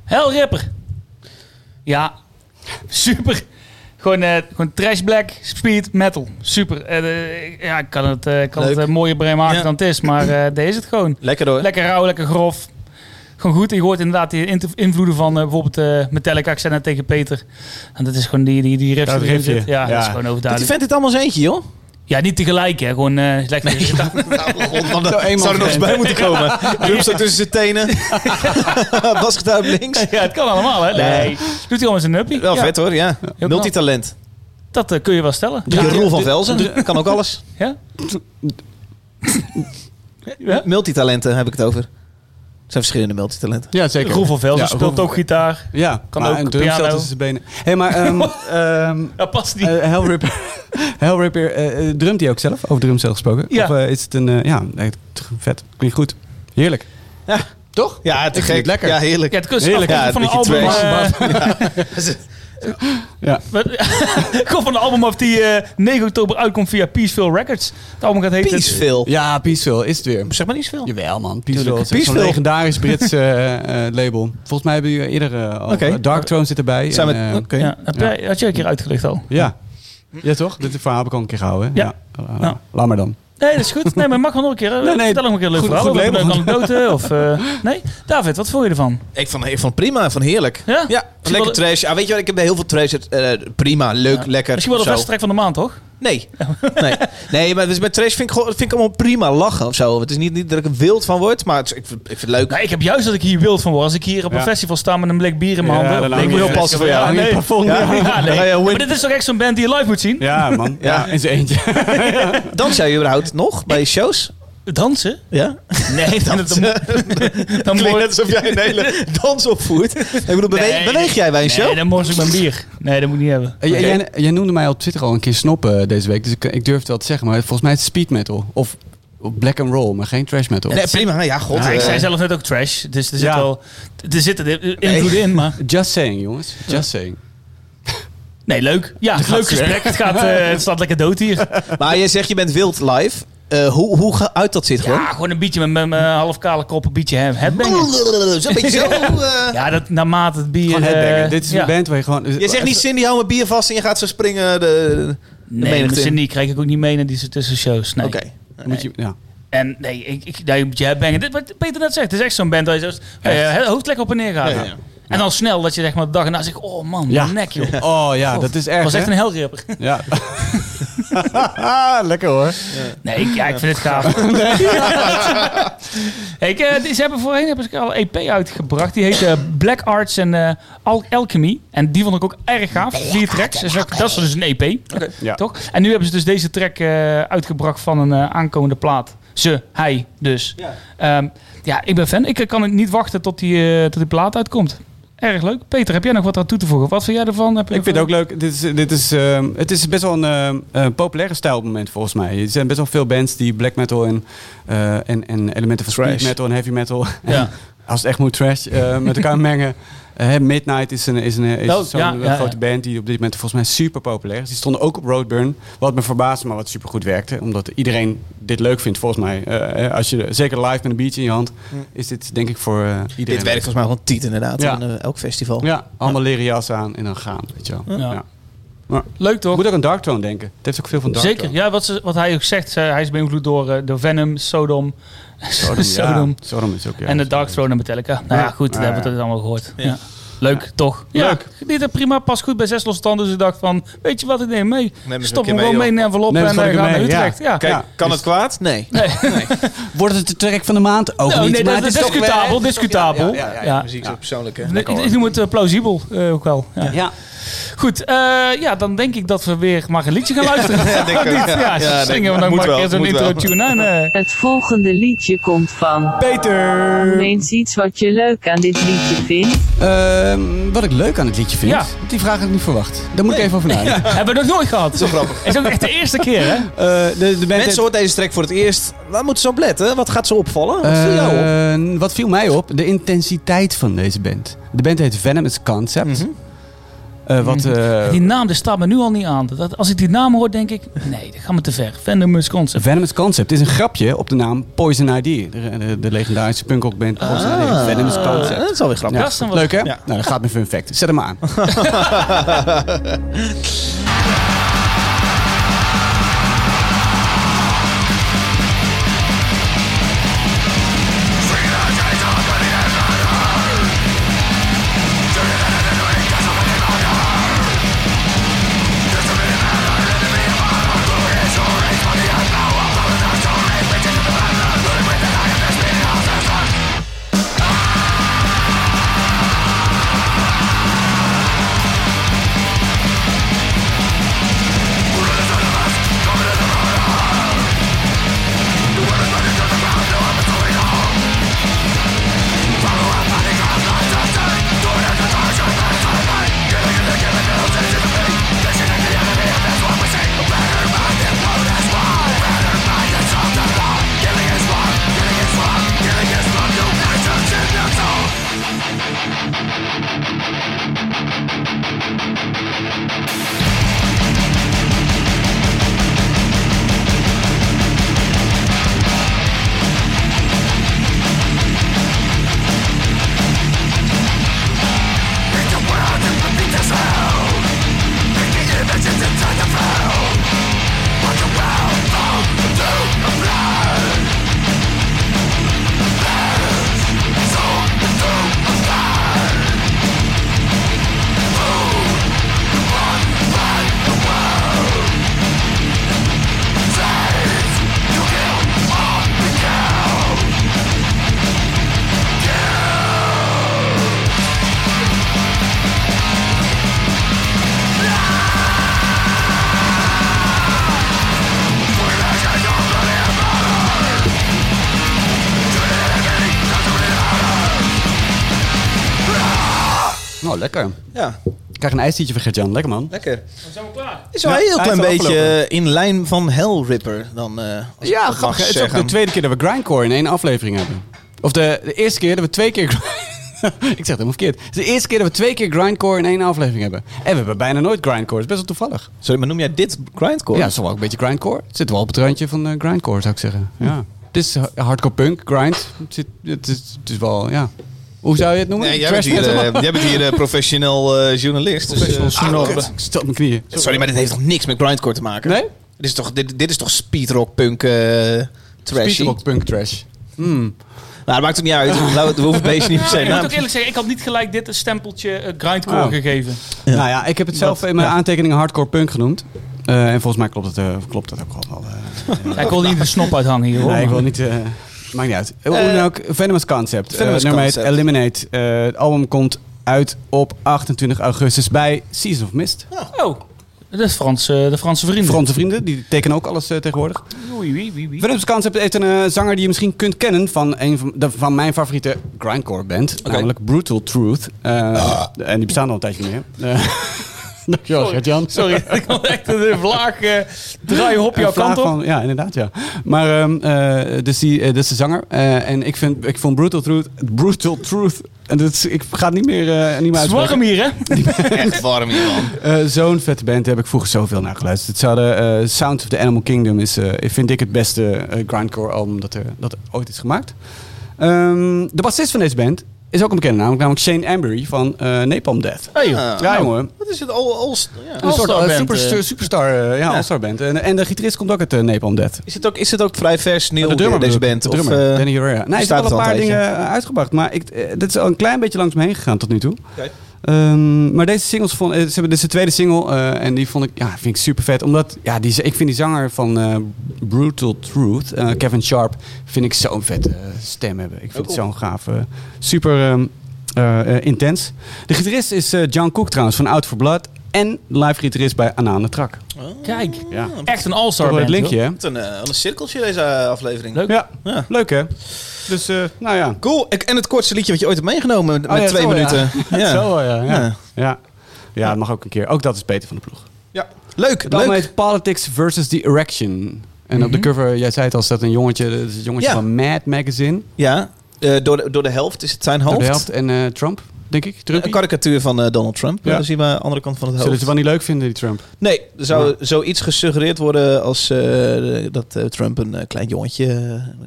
S6: Hell Ripper. Ja, super. Gewoon, eh, gewoon trash black, speed, metal. Super. Eh, eh, ja, ik kan het, eh, ik kan
S5: Leuk.
S6: het eh, mooier brein maken
S5: Ja.
S6: dan het is, maar eh deze is het gewoon.
S5: Lekker hoor.
S6: Lekker rauw, lekker grof. gewoon goed. En je hoort inderdaad die inter- invloeden van eh, bijvoorbeeld eh Metallica. Ik zei net tegen Peter. En dat is gewoon die, die, die riff
S9: Dat
S6: die erin
S9: riffje.
S6: zit. Ja,
S9: Ja.
S6: dat is gewoon
S5: Die
S6: overduidelijk.
S5: vent dit allemaal eens eentje, joh.
S6: Ja, niet tegelijk hè. Gewoon eh lekker.
S5: Zou er nog eens bij moeten komen. Roep zo tussen zijn tenen. Basgitaar op links.
S6: Ja, het kan allemaal hè. Nee. Doet hij allemaal zijn nuppie.
S5: Wel
S6: Ja,
S5: vet hoor, ja.
S6: knap.
S5: Multitalent.
S6: Dat eh, kun je wel stellen.
S5: De Roel van Velzen. Kan ook alles.
S6: Ja? ja?
S5: Multitalenten heb ik het over. Er zijn verschillende multitalenten.
S7: Ja, zeker.
S6: Roel van Velzen
S7: Ja, Roel
S6: speelt
S7: van-
S6: ook gitaar.
S7: Ja,
S6: Kan
S7: maar
S6: ook
S7: een drumstel
S6: piano.
S7: tussen zijn benen. Hé, hey, maar ehm ehm
S6: Dat past niet.
S7: eh, Hellripper, Hellripper eh, eh, drumt hij ook zelf? Over drumstel gesproken?
S6: Ja.
S7: Of eh, is het een... eh, ja, nee, t- vet. Klinkt goed. Heerlijk.
S5: Ja.
S7: Toch?
S5: Ja, te
S7: Ik vind het lekker.
S5: Ja, heerlijk.
S6: ja, het kunst
S7: Heerlijk,
S5: ja,
S6: van
S5: een
S6: een album.
S5: beetje
S6: eh,
S7: Ja.
S6: Kom van een album af die eh, 9 oktober uitkomt via Peaceville Records. Het album gaat heten...
S5: Peaceville.
S7: Ja, Peaceful is het weer.
S5: Zeg maar niet veel.
S7: Jawel man, Peaceful.
S5: Tuurlijk.
S7: Het is zo'n
S5: Peaceful.
S7: legendarisch Brits eh, eh, label. Volgens mij hebben jullie eerder eh, over-
S5: Oké.
S7: Dark Throne zit erbij.
S5: Zijn we-
S7: en, eh,
S5: oké.
S6: Ja, heb jij- had je een keer uitgelegd al?
S7: ja. ja, toch? Dit verhaal heb ik al een keer gehouden. hè?
S6: Ja.
S7: Eh,
S6: Nou.
S7: Laat maar dan.
S6: Nee, dat is goed. Nee, maar mag wel nog een keer.
S7: Nee,
S6: Nee,
S7: nee.
S6: Vertel nog een keer een leuk
S7: Goed-
S6: verhaal.
S7: goed
S6: Of een leuke
S7: label.
S6: anekdote. Of, eh, nee? David, wat vond je ervan?
S5: Ik vond, ik vond prima, van heerlijk.
S6: Ja?
S5: lekker
S6: wel de-
S5: trash. Ah, weet je wat, ik heb bij heel veel trash. eh, prima, leuk, lekker.
S6: Misschien wel de
S5: zo.
S6: beste track van de maand, toch?
S5: Nee. nee. Nee, maar dus bij trash vind ik, gewoon, vind ik allemaal prima lachen of zo. Het is niet, niet dat ik er wild van word, maar het is- ik, vind- ik vind het leuk.
S6: Nou, ik heb juist dat ik hier wild van word. Als ik hier op een
S7: Ja.
S6: festival sta met een blik bier in mijn
S7: Ja,
S6: handen.
S7: dan
S6: dan denk
S7: hang je-
S6: ik,
S5: heel passen voor jou.
S6: Ja,
S7: Hang je
S6: nee.
S7: het plafond.
S5: Ja.
S6: Ja, nee.
S5: Dan ga je
S6: Maar
S5: win-
S6: dit is toch echt zo'n band die je live moet zien?
S7: Ja, man. Ja, in zijn eentje.
S5: Dans jij überhaupt nog bij shows?
S6: Dansen?
S5: Ja.
S6: Nee, dan, dan, dan,
S5: Klinkt
S6: mor-
S5: net alsof jij een hele dans opvoert. Ik bedoel, beweeg,
S6: Nee.
S5: beweeg jij bij een show?
S6: nee, dan mors ik mijn bier. Nee, dat moet ik niet hebben.
S7: Jij- Jij, jij noemde mij op Twitter al een keer snoppen deze week, dus ik, ik durf het wel te zeggen. Maar volgens mij is het speed metal of black and roll, maar geen trash metal.
S5: Nee, prima. Ja, god.
S6: Ja, Ah, ik
S5: eh,
S6: zei zelf net ook trash, dus er zit
S7: Ja.
S6: wel er zitten invloeden in, maar
S7: Just saying, jongens. Just saying.
S6: nee, leuk. Ja, leuk gesprek. Het, gaat, eh, het staat lekker dood hier.
S5: maar je zegt je bent wild live. Eh, hoe, hoe ge- uit dat zit gewoon?
S6: Ja, gewoon een beetje met mijn eh, half kale kop, een beetje he- headbangen.
S5: Zo'n beetje zo. eh.
S6: Ja, dat naarmate het bier...
S7: Gewoon headbanger.
S6: eh,
S7: Dit is
S6: ja.
S7: een band waar je gewoon...
S5: Je zegt niet Cindy, hou mijn bier vast en je gaat zo springen. De, de
S6: Nee,
S5: menigte
S6: met
S5: in.
S6: Cindy krijg ik ook niet mee naar die tussen shows. Nee.
S5: Oké.
S7: Moet je, ja.
S6: En nee, ik, ik, daar moet je headbangen. Dit wat Peter net zegt, het is echt zo'n band dat je zo, eh, het hoofd lekker op en neer gaat.
S5: Ja, ja.
S6: En dan snel dat je zeg maar de dag erna zegt, oh man,
S7: Ja.
S6: mijn nek joh.
S7: Oh ja,
S6: God,
S7: dat is
S6: Dat
S7: erg,
S6: was echt
S7: hè?
S6: een helgripper.
S7: Ja. Lekker hoor.
S6: Nee, ik, ja, ik vind het gaaf. Hey, ik, eh, die- ze hebben voorheen hebben ze al een EP uitgebracht. Die heette eh, Black Arts en eh, Al- Alchemy. En die vond ik ook erg gaaf. Vier tracks. Dus ook- dat is dus een EP.
S7: Ja.
S6: Toch? En nu hebben ze dus deze track eh, uitgebracht van een eh, aankomende plaat. Ze, hij dus. Ja, ja ik ben fan. Ik eh, kan niet wachten tot die, eh, tot die plaat uitkomt. Erg leuk. Peter, heb jij nog wat aan toe te voegen? Wat vind jij ervan? Heb je
S7: Ik
S6: nog
S7: vind het
S6: wat-
S7: ook leuk. Dit is, dit is, ehm, het is best wel een ehm, eh, populaire stijl op het moment volgens mij. Er zijn best wel veel bands die black metal en, eh, en, en elementen van
S5: Trash.
S7: speed metal en heavy metal.
S6: Ja.
S7: Als het echt moet trash eh, met elkaar mengen. Eh, Midnight is, een, is, een, is
S6: Oh,
S7: zo'n eh,
S6: ja, ja, ja.
S7: grote band die op dit moment volgens mij super populair is. Die stonden ook op Roadburn. Wat me verbaasde, maar wat super goed werkte. Omdat iedereen dit leuk vindt volgens mij. Eh, eh, als je, zeker live met een biertje in je hand, is dit denk ik voor eh, iedereen.
S5: Dit werkt volgens mij gewoon tiet inderdaad
S7: Ja.
S5: aan eh, elk festival.
S7: Ja, allemaal leren jas aan en dan gaan, weet je wel.
S6: Ja.
S7: Ja.
S6: Leuk toch?
S7: Moet ook aan Dark Throne denken. Het heeft ook veel van Dark
S6: Zeker, ja, wat, ze, wat hij ook zegt, ze- hij is beïnvloed door, eh, door Venom, Sodom, Sodom,
S7: Sodom. Ja, Sodom is ook, ja.
S6: en de Dark Throne en Metallica. Nou ja,
S7: Ja.
S6: goed,
S7: Ah,
S6: dat hebben we
S7: ja.
S6: het allemaal gehoord. Ja. Leuk, toch? Ja,
S7: Leuk.
S6: Dit eh, prima, past goed bij Zes Losse Tanden, dus ik dacht van, weet je wat, ik neem hem mee.
S5: eens een
S6: Stop
S5: keer
S6: hem gewoon
S5: mee,
S6: mee in een envelop
S7: Neem
S6: en
S7: het
S6: dan gaan
S7: gewoon
S6: we
S7: een
S6: naar
S7: keer mee,
S6: Utrecht. Ja.
S5: Kijk,
S7: Ja.
S5: kan het kwaad? Nee.
S7: Wordt het de track van de maand? Ook
S6: Nou,
S7: niet.
S6: nee,
S7: maar
S6: dat is
S7: het is toch weer-
S6: discutabel, discutabel.
S7: Ja, ja, ja,
S6: Ja.
S5: Muziek is persoonlijk, hè?
S6: Ik ik noem het eh, plausibel eh, ook wel. Ja.
S7: Ja.
S6: Goed, eh, ja, dan denk ik dat we weer maar een liedje gaan luisteren.
S5: Ja, denk ik ook.
S6: Ja,
S5: Ja, ja, denk
S6: zingen
S5: ik.
S6: we nog
S5: Moet
S6: maar een
S5: wel,
S6: keer zo'n
S5: moet wel.
S6: intro tune aan. eh.
S8: Het volgende liedje komt van. Noem
S7: Peter!
S8: eens iets wat je leuk aan dit liedje vindt.
S7: Ehm, wat ik leuk aan het liedje vind,
S6: Ja.
S7: die vraag had ik niet verwacht. Daar moet ik even over nadenken.
S6: Hebben we nog nooit gehad. Zo grappig. Het is ook echt de eerste keer, hè?
S7: Eh, de, de band
S5: Mensen hoort deze track voor het eerst. Waar moeten ze op letten? Wat gaat ze opvallen? Wat
S7: Eh,
S5: viel jou op?
S7: wat viel mij op? De intensiteit van deze band. De band heet Venomous Concept. Eh, wat, eh,
S6: Mhm. Die naam, dat staat me nu al niet aan. Dat, als ik die naam hoor, denk ik... Nee, dat gaat me te ver. Venomous Concept.
S7: Venomous Concept is een grapje op de naam Poison ID. De, de, de legendarische punkrockband Poison
S6: Ah.
S7: ID. Venomous
S5: Eh,
S7: Concept.
S5: dat is alweer grappig.
S7: Ja,
S6: Dat is dan wat-
S7: leuk hè? Nou, dat gaat mijn fun fact. Zet hem maar aan.
S10: Freedom, Jason, but he has not
S7: Nou, lekker.
S5: Ja.
S7: Ik krijg een ijstietje van Gert-Jan. Lekker man.
S5: Lekker.
S6: zijn we klaar.
S5: Is wel
S7: Ja,
S5: een heel
S7: hij
S5: klein
S7: is al
S5: beetje
S7: afgelopen.
S5: in lijn van Hellripper dan. eh, als ik
S7: Ja,
S5: dat mag
S7: grappig. hè? Het is ook
S5: zeggen.
S7: de tweede keer dat we Grindcore in één aflevering hebben. Of de, de eerste keer dat we twee keer... grind- Ik zeg het helemaal verkeerd. Het is de eerste keer dat we twee keer Grindcore in één aflevering hebben. En we hebben bijna nooit Grindcore. Dat is best wel toevallig.
S5: Sorry, maar noem jij dit grindcore?
S7: Ja, het is toch wel ook een beetje Grindcore. Het zit wel op het randje van eh, Grindcore, zou ik zeggen.
S5: Hm.
S7: Ja. Het is ha- hardcore punk, grind. Het, zit, het, is, het is wel, ja... Hoe zou je het noemen?
S5: Nee, jij bent hier, eh, jij bent hier eh, professioneel eh, journalist. Dus, eh,
S7: Professional
S5: ah,
S7: journalist. Ik stel mijn knieën.
S5: sorry, maar dit heeft toch niks met grindcore te maken?
S7: Nee?
S5: Dit is toch, dit, dit is toch speedrock punk eh trashy?
S7: Speedrock punk trash. Hmm.
S5: Nou, dat maakt het niet uit. We we hoeven het beestje niet per se
S6: ik moet
S5: naam
S6: ook eerlijk zeggen, ik had niet gelijk dit een stempeltje eh, grindcore
S7: Oh.
S6: gegeven.
S7: Nou ja, ik heb het zelf in mijn aantekeningen hardcore punk genoemd. Eh, en volgens mij klopt dat, eh, klopt dat ook gewoon wel. eh.
S6: Ja, ik wil niet de snop uithangen hier hoor.
S7: nee, ik wil niet... eh, maakt niet uit.
S6: Eh,
S7: Hoe dan ook, Venomous Concept. Eh,
S5: Venomous
S7: nummer heet
S5: Concept.
S7: Eliminate. Eh, het album komt uit op 28 augustus bij Season of Mist.
S6: Oh, dat is Frans, eh, de Franse vrienden.
S7: Franse vrienden, die tekenen ook alles eh, tegenwoordig.
S6: Oei, oei, oei, oei.
S7: Venomous Concept heeft een eh, zanger die je misschien kunt kennen van een van, de- van mijn favoriete grindcore band. Namelijk Brutal Truth. Eh, En die bestaan al een tijdje niet meer. Eh, Dankjewel, Gert-Jan.
S6: Ah. Sorry, ik kon echt een vlaag eh, draaien op
S7: Een
S6: jouw
S7: vraag
S6: kant op.
S7: van- ja, inderdaad, ja. Maar ehm, eh, dus die, eh, dat is de zanger. Eh, en ik, vind, ik vond Brutal Truth... Brutal Truth... En dat is, ik ga het niet meer, eh niet meer
S6: Het is warm
S7: uitspreken.
S6: hier, hè?
S5: Echt warm hier, man.
S7: Eh, Zo'n vette band daar heb ik vroeger zoveel naar geluisterd. Ze hadden eh, Sound of the Animal Kingdom is, eh, vind ik het beste eh, grindcore album dat er, dat er ooit is gemaakt. Ehm, de bassist van deze band is ook een bekende naam, namelijk Shane Ambury van eh, Napalm Death.
S6: Hey, joh.
S5: Ah.
S7: Ja, jongen.
S5: Wat is het? All, all, ja.
S7: Een soort eh,
S6: All-star band,
S7: superstar,
S6: eh.
S7: superstar eh, ja, all-star band. En, en de gitarist komt ook uit eh, Napalm Death.
S5: Is het ook, is het ook vrij vers nieuw,
S7: de drummer
S5: deze
S7: bedoel ik.
S5: band?
S7: De
S5: Of,
S7: drummer,
S5: eh,
S7: Danny Herrera. Nee, hij heeft
S5: bestaat
S7: wel een paar
S5: het al een
S7: dingen eh, uitgebracht. Maar ik, eh, dit is al een klein beetje langs me heen gegaan tot nu toe.
S5: Oké.
S7: Ehm, maar deze singles vond, eh, ze hebben, dit is de tweede single. eh, en die vond ik, ja, vind ik super vet. Omdat ja, die, ik vind die zanger van eh, Brutal Truth, eh, Kevin Sharp, vind ik zo'n vette eh, stem hebben. Ik vind het zo'n gaaf. eh, super ehm, eh, eh, intens. De gitarist is eh, John Cook trouwens van Out for Blood. En live gitarist bij Anaan de Trak.
S6: Kijk,
S7: Ja.
S6: echt een all-star
S7: Toch wel
S6: band.
S7: het linkje, hè?
S5: Wat een, eh, wat een cirkeltje deze eh, aflevering.
S6: Leuk.
S7: Ja.
S5: Ja.
S7: leuk hè? Dus, eh, nou ja.
S5: Cool. Ik- en het kortste liedje wat je ooit hebt meegenomen met
S7: Oh ja,
S5: twee
S7: zo, ja.
S5: minuten. Ja.
S7: Zo, ja. Ja.
S5: Ja.
S7: Ja. ja. dat mag ook een keer. Ook dat is beter van de ploeg.
S5: Leuk,
S7: Het album
S5: leuk. Mhm.
S7: heet Politics versus the Erection. En op de cover, jij zei het al, staat een jongetje. Dat is het jongetje
S5: Ja.
S7: van Mad Magazine.
S5: Ja, eh, door, de, door de helft is het zijn
S7: Door
S5: hoofd.
S7: de helft en eh, Trump, denk ik. Trump.
S5: Een karikatuur van eh, Donald Trump.
S7: Ja.
S5: Ja. Dan zien we aan de andere kant van het
S7: Zullen
S5: hoofd.
S7: ze wel niet leuk vinden, die Trump?
S5: Nee, er zou zoiets gesuggereerd worden als eh, dat eh, Trump een eh, klein jongetje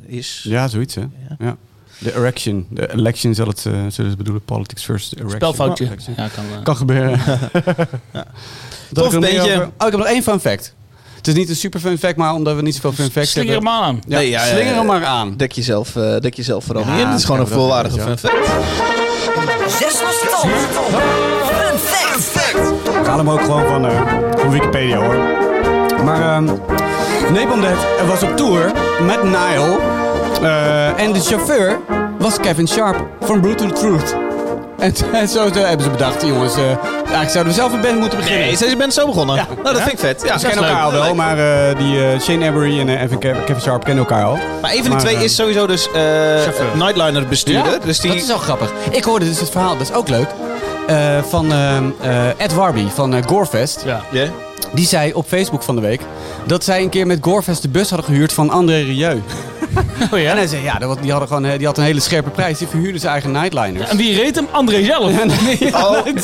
S5: eh, is.
S7: Ja, zoiets hè.
S5: Ja.
S7: Ja. De Erection. De election zal het, eh, zullen ze bedoelen. Politics versus the Erection.
S6: Spelfoutje.
S7: Erection.
S6: Ja, kan, eh.
S7: Kan gebeuren. Dat
S5: Tof
S7: ik er nog meer
S5: beentje.
S7: over- Oh, ik heb nog één fun fact. Het is niet een super fun fact, maar omdat we niet zoveel fun facts
S6: Slinger hem
S7: hebben.
S6: aan aan.
S7: Ja,
S5: Nee, ja, ja,
S7: slinger
S5: ja.
S7: hem maar aan.
S5: Dek jezelf, eh, dek jezelf vooral
S7: Ja,
S5: niet in. Het is gewoon een
S7: dat hebben we
S5: volwaardige
S7: wel,
S5: fun fact.
S10: Zes was stom. Fun fact.
S7: Ik haal hem ook gewoon van, eh, van Wikipedia hoor. Maar ehm Napalm Death, eh, was op tour met Nile. eh, en de chauffeur was Kevin Sharp van Brutal Truth. En, en zo eh, hebben ze bedacht, jongens, eh, eigenlijk zouden we zelf een band moeten beginnen.
S5: Nee, zijn ze band zo begonnen? Nou, dat vind ik vet. Ja,
S7: ze kennen elkaar al wel, maar eh, die eh, Shane Avery en eh, Evan Ke- Kevin Sharp kennen elkaar al.
S5: Maar een van die
S7: Maar,
S5: twee
S7: eh,
S5: is sowieso dus eh, Nightliner bestuurder. dus die,
S7: Dat is wel grappig. Ik hoorde dus het verhaal, dat is ook leuk, eh, van ehm, eh, Ed Warby van eh, Gorefest.
S6: Ja.
S5: Ja.
S7: Die zei op Facebook van de week dat zij een keer met Gorefest de bus hadden gehuurd van André Rieu.
S6: Oh,
S7: En
S6: ja.
S7: hij zei, ja, dat was- die, hadden gewoon, eh, die had een hele scherpe prijs. Die verhuurde zijn eigen nightliners.
S6: En wie reed hem? André zelf.
S5: Oh,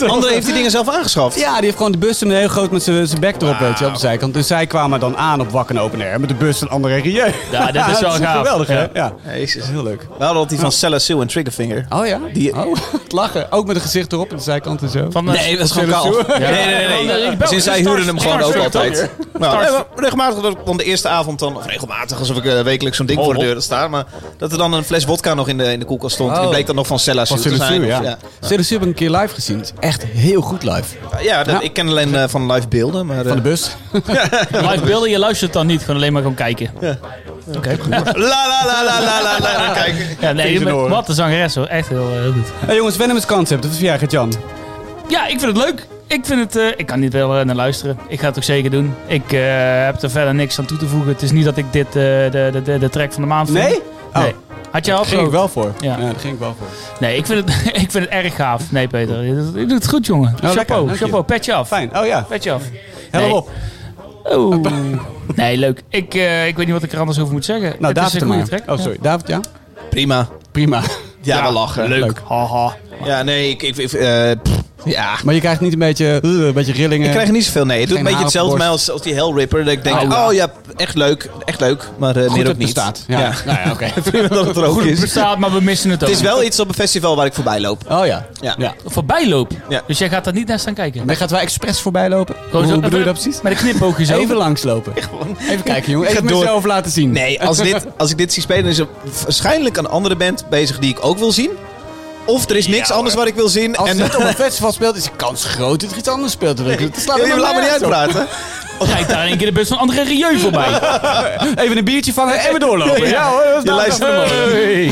S5: André heeft die dingen zelf aangeschaft.
S7: Ja, die heeft gewoon de bus hem heel groot met zijn zijn bek erop, weet je, op de zijkant. Dus zij kwamen dan aan op Wakken Open Air met de bus van André Rieu.
S6: Ja, dat is wel gaaf.
S7: geweldig, hè?
S6: Ja.
S7: Ja.
S5: Jezus. Heel leuk. We hadden altijd die van Sella Sue en Triggerfinger.
S7: Oh ja?
S5: Die-
S7: Oh, het lachen. Ook met een gezicht erop aan de zijkant en zo.
S6: Van, eh,
S5: Nee, dat is gewoon kaal. Nee, nee, nee.
S6: Van, eh,
S5: nee.
S6: België.
S5: Sinds zij
S6: Stars-
S5: huurden hem gewoon ook
S6: Starsfield,
S5: altijd.
S6: toch?
S5: Nou, nee, maar regelmatig, dat ik dan de eerste avond dan, of regelmatig, alsof ik eh, wekelijks zo'n ding
S7: Oh.
S5: voor de deur had staan, maar dat er dan een fles vodka nog in de, in de koelkast stond. En die
S7: Oh.
S5: bleek dan nog van Sella Sue
S7: Van
S5: te zijn.
S7: Sue,
S5: of-
S7: ja. Sue heb ik een keer live gezien. Het is echt heel goed live.
S5: Ja, ja, dat-
S7: Ja.
S5: ik ken alleen eh, van live beelden, maar... eh,
S7: Van de bus.
S6: Live beelden, je luistert dan niet. Gewoon alleen maar gewoon kijken.
S5: La la la la la la la. Kijk.
S6: Ja, nee, maar- wat een zangeres hoor. Echt heel, eh, heel goed.
S7: Hey, jongens, Venomous Concept. Wat vind jij, Gert-Jan?
S6: Ja, ik vind het leuk. Ik vind het... eh, ik kan niet wel eh, naar luisteren. Ik ga het ook zeker doen. Ik eh, heb er verder niks aan toe te voegen. Het is niet dat ik dit eh, de, de, de, de track van de maand vind.
S7: Nee?
S6: Nee.
S7: Oh.
S6: Had jij al
S7: Daar ging ik
S6: groot?
S7: wel voor.
S6: Ja.
S7: Ja. daar ging ik wel voor.
S6: Nee, ik vind, het, ik vind het erg gaaf. Nee, Peter. Je doet- je doet het goed, jongen.
S7: Oh, lekker.
S6: chapeau,
S7: Dank je.
S6: chapeau. Petje af.
S7: Fijn. Oh ja,
S6: Petje af.
S7: helemaal
S6: Nee.
S7: op.
S6: Oeh. Nee, leuk. Ik, eh, ik weet niet wat ik er anders over moet zeggen.
S7: Nou,
S6: het
S7: David
S6: is een goede
S7: maar.
S6: track.
S7: Oh, sorry. David, ja?
S5: Prima.
S7: Prima.
S5: Ja, we lachen.
S7: Leuk.
S6: Haha.
S5: Ja, nee, ik... ik, ik, eh, pff, ja.
S7: Maar je krijgt niet een beetje, eh, een beetje rillingen.
S5: Ik krijg er niet zoveel, nee. Het doet een
S7: Geen
S5: beetje
S7: haar op
S5: hetzelfde
S7: de
S5: mij als, als die Hellripper. Dat ik denk,
S7: Oh,
S5: oh,
S7: ja.
S5: ja, echt leuk, echt leuk. Maar eh meer
S7: dat
S5: ook niet.
S7: bestaat. Ja. Nou ja, oké.
S5: Prima dat het er ook
S6: Goed dat het
S5: is.
S6: bestaat, maar we missen het ook.
S5: Het is wel iets op een festival waar ik voorbij loop.
S7: Oh ja.
S5: Ja.
S7: ja.
S6: Voorbij lopen.
S5: Ja.
S6: Dus jij gaat daar niet naar staan kijken.
S7: Dan gaat wij expres voorbij lopen.
S6: Gewoon
S7: Hoe
S6: zo-
S7: bedoel je dat
S6: even-
S7: precies?
S6: Met een knipoogje zo.
S7: Even langslopen. Even kijken, jongen.
S5: Ik ga
S7: Even
S5: door.
S7: mezelf laten zien.
S5: Nee, als, dit, als ik dit zie spelen, is er waarschijnlijk een andere band bezig die ik ook wil zien. Of er is niks anders wat ik wil zien.
S7: Als
S5: en
S7: het op een festival speelt, is de kans groot dat er iets anders speelt. Dat dat slaat
S5: Jullie
S7: helemaal
S5: laat me niet
S7: nergens op.
S5: uitpraten.
S6: Kijk daar in één keer de bus van André Rieu voorbij.
S7: Even een biertje vangen en weer doorlopen. Ja, hoor, dat is
S5: Je
S7: nou-
S5: luistert,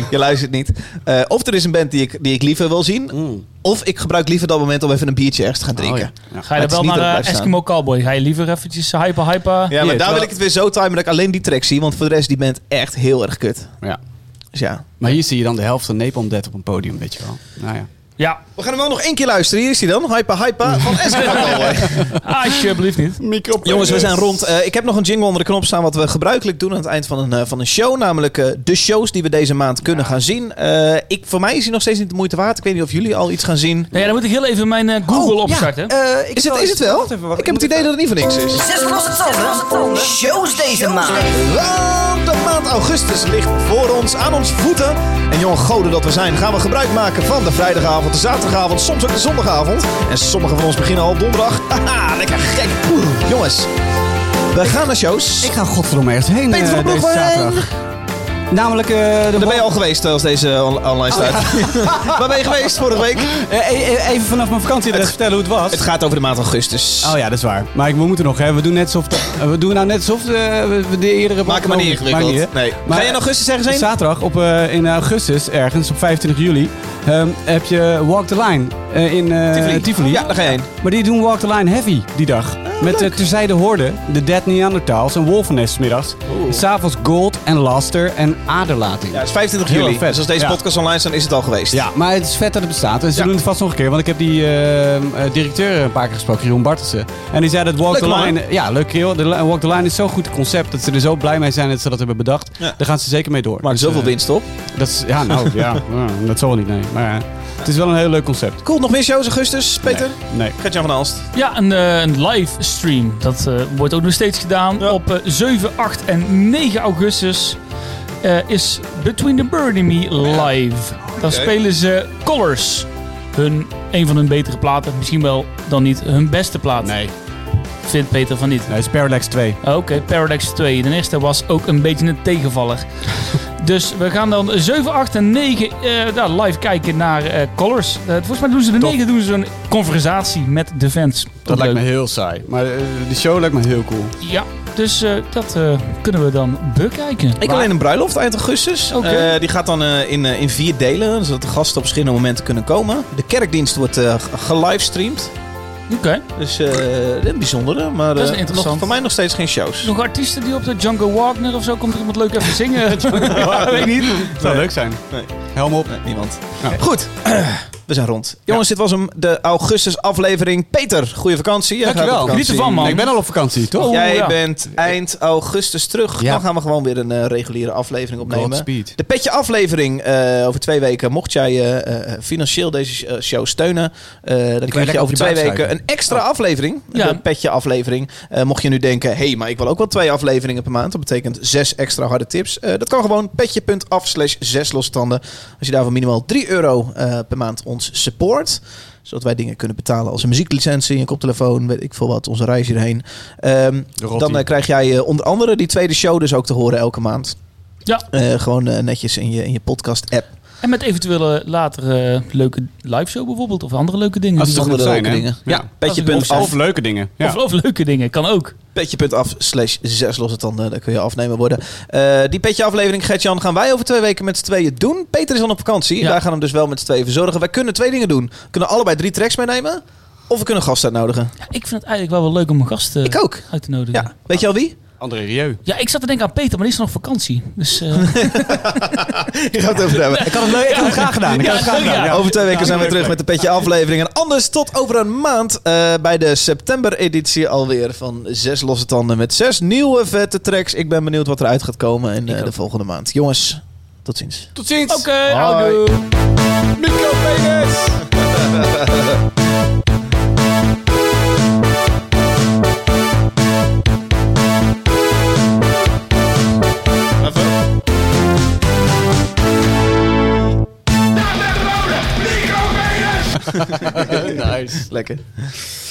S5: je luistert niet. Eh, of er is een band die ik, die ik liever wil zien. Of ik gebruik liever dat moment om even een biertje ergens te gaan
S7: Oh,
S5: drinken.
S7: ja.
S6: Ga je
S5: Het is
S6: dan wel
S5: niet dat
S6: naar
S5: het
S6: eh,
S5: blijft
S6: Eskimo Cowboy? Ga je liever eventjes hyper hyper?
S5: Ja, maar
S7: Hier,
S5: daar wil
S7: terwijl-
S5: ik het weer zo timen dat ik alleen die track zie. Want voor de rest, die bent echt heel erg kut.
S7: Ja.
S5: Dus ja.
S7: Maar hier zie je dan de helft van Napalm Dead op een podium, weet je wel. Nou ja.
S6: Ja,
S5: We gaan hem wel nog één keer luisteren. Hier is hij dan. Hypa Hypa van Eskimo Oh, Cowboy.
S6: alsjeblieft niet.
S5: Jongens, we zijn rond. Eh, ik heb nog een jingle onder de knop staan. Wat we gebruikelijk doen aan het eind van een, eh, van een show. Namelijk eh, de shows die we deze maand kunnen gaan zien. Eh, ik, voor mij is die nog steeds niet de moeite waard. Ik weet niet of jullie al iets gaan zien.
S6: Nee, dan moet ik heel even mijn eh, Google
S5: Oh,
S6: opstarten.
S7: Eh,
S5: is, het, is het wel? ik heb het idee dat het niet voor niks is.
S10: Zes losse tanden. Shows deze maand.
S5: Want de maand augustus ligt voor ons, aan ons voeten. En jonge goden dat we zijn, gaan we gebruik maken van de vrijdagavond, de zaterdagavond, soms ook de zondagavond. En sommigen van ons beginnen al op donderdag. Haha, lekker gek. Oeh, jongens, we gaan naar shows.
S7: Ik ga godverdomme ergens heen
S5: Peter van
S7: eh,
S5: Brugge.
S7: deze zaterdag. Namelijk eh, de
S5: Daar ben je
S7: bal-
S5: al geweest eh, als deze on- online
S7: Oh,
S5: staat. Waar ben je geweest vorige week?
S7: Eh, eh, eh, even vanaf mijn vakantie
S5: Het-
S7: vertellen hoe het was.
S5: Het gaat over de maand augustus.
S7: Oh ja, dat is waar. Maar ik, we moeten nog, hè. We doen net alsof... de- eh, we doen nou net alsof eh, we we de eerdere...
S5: Maak het maar niet
S7: Maakt niet,
S5: ingewikkeld.
S7: hè.
S5: Nee.
S7: Maar-
S5: Ga je in augustus ergens heen?
S7: Zaterdag op, eh, in augustus, ergens op 25 juli, ehm, heb je Walk the Line eh, in eh, Tivoli.
S5: Ja, daar ga je heen. Oh,
S7: Maar die doen Walk the Line Heavy die dag. Met de terzijde hoorden, de Dead Neanderthals en Wolfennest middags. S'avonds Gold en Laster en Aderlating.
S5: Ja, het is 25
S7: Heel
S5: juli.
S7: vet.
S5: Dus als deze
S7: Ja.
S5: podcast online staat, is het al geweest.
S7: Ja, maar het is vet dat het bestaat. En ze
S5: Ja.
S7: doen het vast nog een keer. Want ik heb die ehm, eh, directeur een paar keer gesproken, Jeroen Bartelsen. En die zei dat Walk
S5: Leuk
S7: the
S5: man,
S7: Line... Ja, leuk heel. De li- eh, Walk the Line is zo'n goed concept dat ze er zo blij mee zijn dat ze dat hebben bedacht.
S5: Ja.
S7: Daar gaan ze zeker mee door.
S5: Maakt
S7: Dus,
S5: zoveel
S7: eh,
S5: winst op.
S7: Dat is, ja, nou, ja, ja, dat zal wel niet, nee. Maar ja, het is wel een heel leuk concept.
S5: Cool, nog meer shows augustus, Peter?
S7: Nee.
S5: Gert-Jan van Alst.
S6: Ja, een, eh, een livestream. Dat eh, wordt ook nog steeds gedaan. Op eh, 7, 8 en 9 augustus eh, is Between the Bird and Me live. Dan spelen ze Colors. Hun, een van hun betere platen. Misschien wel dan niet hun beste plaat.
S7: Nee.
S6: Vindt Peter van niet.
S7: Nee, het is Parallax 2.
S6: Oké, Paradox 2. De eerste was ook een beetje een tegenvaller. dus we gaan dan 7, 8 en 9 eh, nou, live kijken naar eh, Colors. Eh, volgens mij doen ze de
S7: Top.
S6: 9 doen ze een conversatie met de fans.
S7: Dat
S6: Ook
S7: lijkt me
S6: leuk.
S7: heel saai. Maar eh, de show lijkt me heel cool.
S6: Ja, dus eh, dat eh, kunnen we dan bekijken.
S5: Ik
S6: Maar-
S5: alleen een bruiloft eind augustus.
S6: Oké.
S5: Eh, die gaat dan eh, in, eh, in vier delen, zodat de gasten op verschillende momenten kunnen komen. De kerkdienst wordt eh, g- gelivestreamd.
S6: Oké.
S5: Dus eh, een bijzondere, maar
S6: Dat is
S5: eh,
S6: interessant.
S5: nog, voor mij nog steeds geen shows.
S6: Nog artiesten die op de Django Wagner of zo komt er iemand leuk even zingen? Ja, Weet niet.
S7: Het zou leuk zijn.
S5: Nee.
S7: Helm op.
S5: Nee, Eh, niemand.
S7: Nou.
S5: Goed, we zijn rond. Jongens, dit was hem, de augustus aflevering. Peter, goede vakantie. Jij gaat op
S7: Dankjewel.
S5: vakantie.
S6: Geniet ervan, man.
S7: Ik ben al op vakantie, toch?
S6: Oh,
S5: Jij
S6: ja.
S5: bent eind augustus terug.
S7: Ja.
S5: Dan gaan we gewoon weer een eh, reguliere aflevering opnemen.
S7: Godspeed.
S5: De petje aflevering eh, over twee weken. Mocht jij eh, eh, financieel deze eh, show steunen, eh, dan krijg je
S7: lekker
S5: over
S7: op je
S5: twee
S7: buik
S5: weken een
S7: zuipen.
S5: extra aflevering.
S6: Ja.
S5: De petje aflevering. Eh, mocht je nu denken, hé, hey, maar ik wil ook wel twee afleveringen per maand. Dat betekent zes extra harde tips. Eh, dat kan gewoon petje.af slash zes losstanden. Als je daarvoor minimaal 3 euro eh, per maand ons support. Zodat wij dingen kunnen betalen als een muzieklicentie, een koptelefoon, weet ik veel wat, onze reis hierheen. Ehm,
S7: De rotti.
S5: dan eh, krijg jij eh, onder andere die tweede show dus ook te horen elke maand.
S6: Ja.
S5: Eh, gewoon eh, netjes in je, in je podcast-app.
S6: En met eventuele later eh, leuke liveshow bijvoorbeeld. Of andere leuke dingen.
S7: Als
S6: die
S7: het
S6: we-
S7: goed
S5: Andere
S7: zijn,
S5: leuke
S7: hè?
S5: dingen.
S7: Ja.
S5: Ja,
S7: Of,
S5: petje.af
S7: of leuke dingen. Ja.
S6: of, of leuke dingen, kan ook.
S5: petje.af slash zes losse tanden. Daar kun je afnemen worden. Eh, die petje aflevering, Gert-Jan, gaan wij over twee weken met z'n tweeën doen. Peter is dan op vakantie.
S6: Ja.
S5: Wij gaan hem dus wel met z'n tweeën verzorgen. Wij kunnen twee dingen doen. We kunnen allebei drie tracks meenemen. Of we kunnen een gast uitnodigen.
S6: Ja, ik vind het eigenlijk wel wel leuk om een gast eh,
S5: Ik ook.
S6: uit te nodigen.
S5: Ja. Weet je al wie?
S7: André Rieu.
S6: Ja, ik zat te denken aan Peter, maar die is nog op vakantie. Dus, eh,
S5: Je gaat het over hebben. Ik had het, leuk, ik had het graag gedaan. Ik had het graag gedaan. Over twee weken zijn we terug met de petje aflevering. En anders tot over een maand eh, bij de september-editie alweer van Zes Losse Tanden. Met zes nieuwe vette tracks. Ik ben benieuwd wat eruit gaat komen in eh, de volgende maand. Jongens, tot ziens.
S7: Tot ziens.
S6: Oké,
S5: Oh,
S6: houdoe.
S5: Mico Vegas!
S7: nice.
S5: Lekker.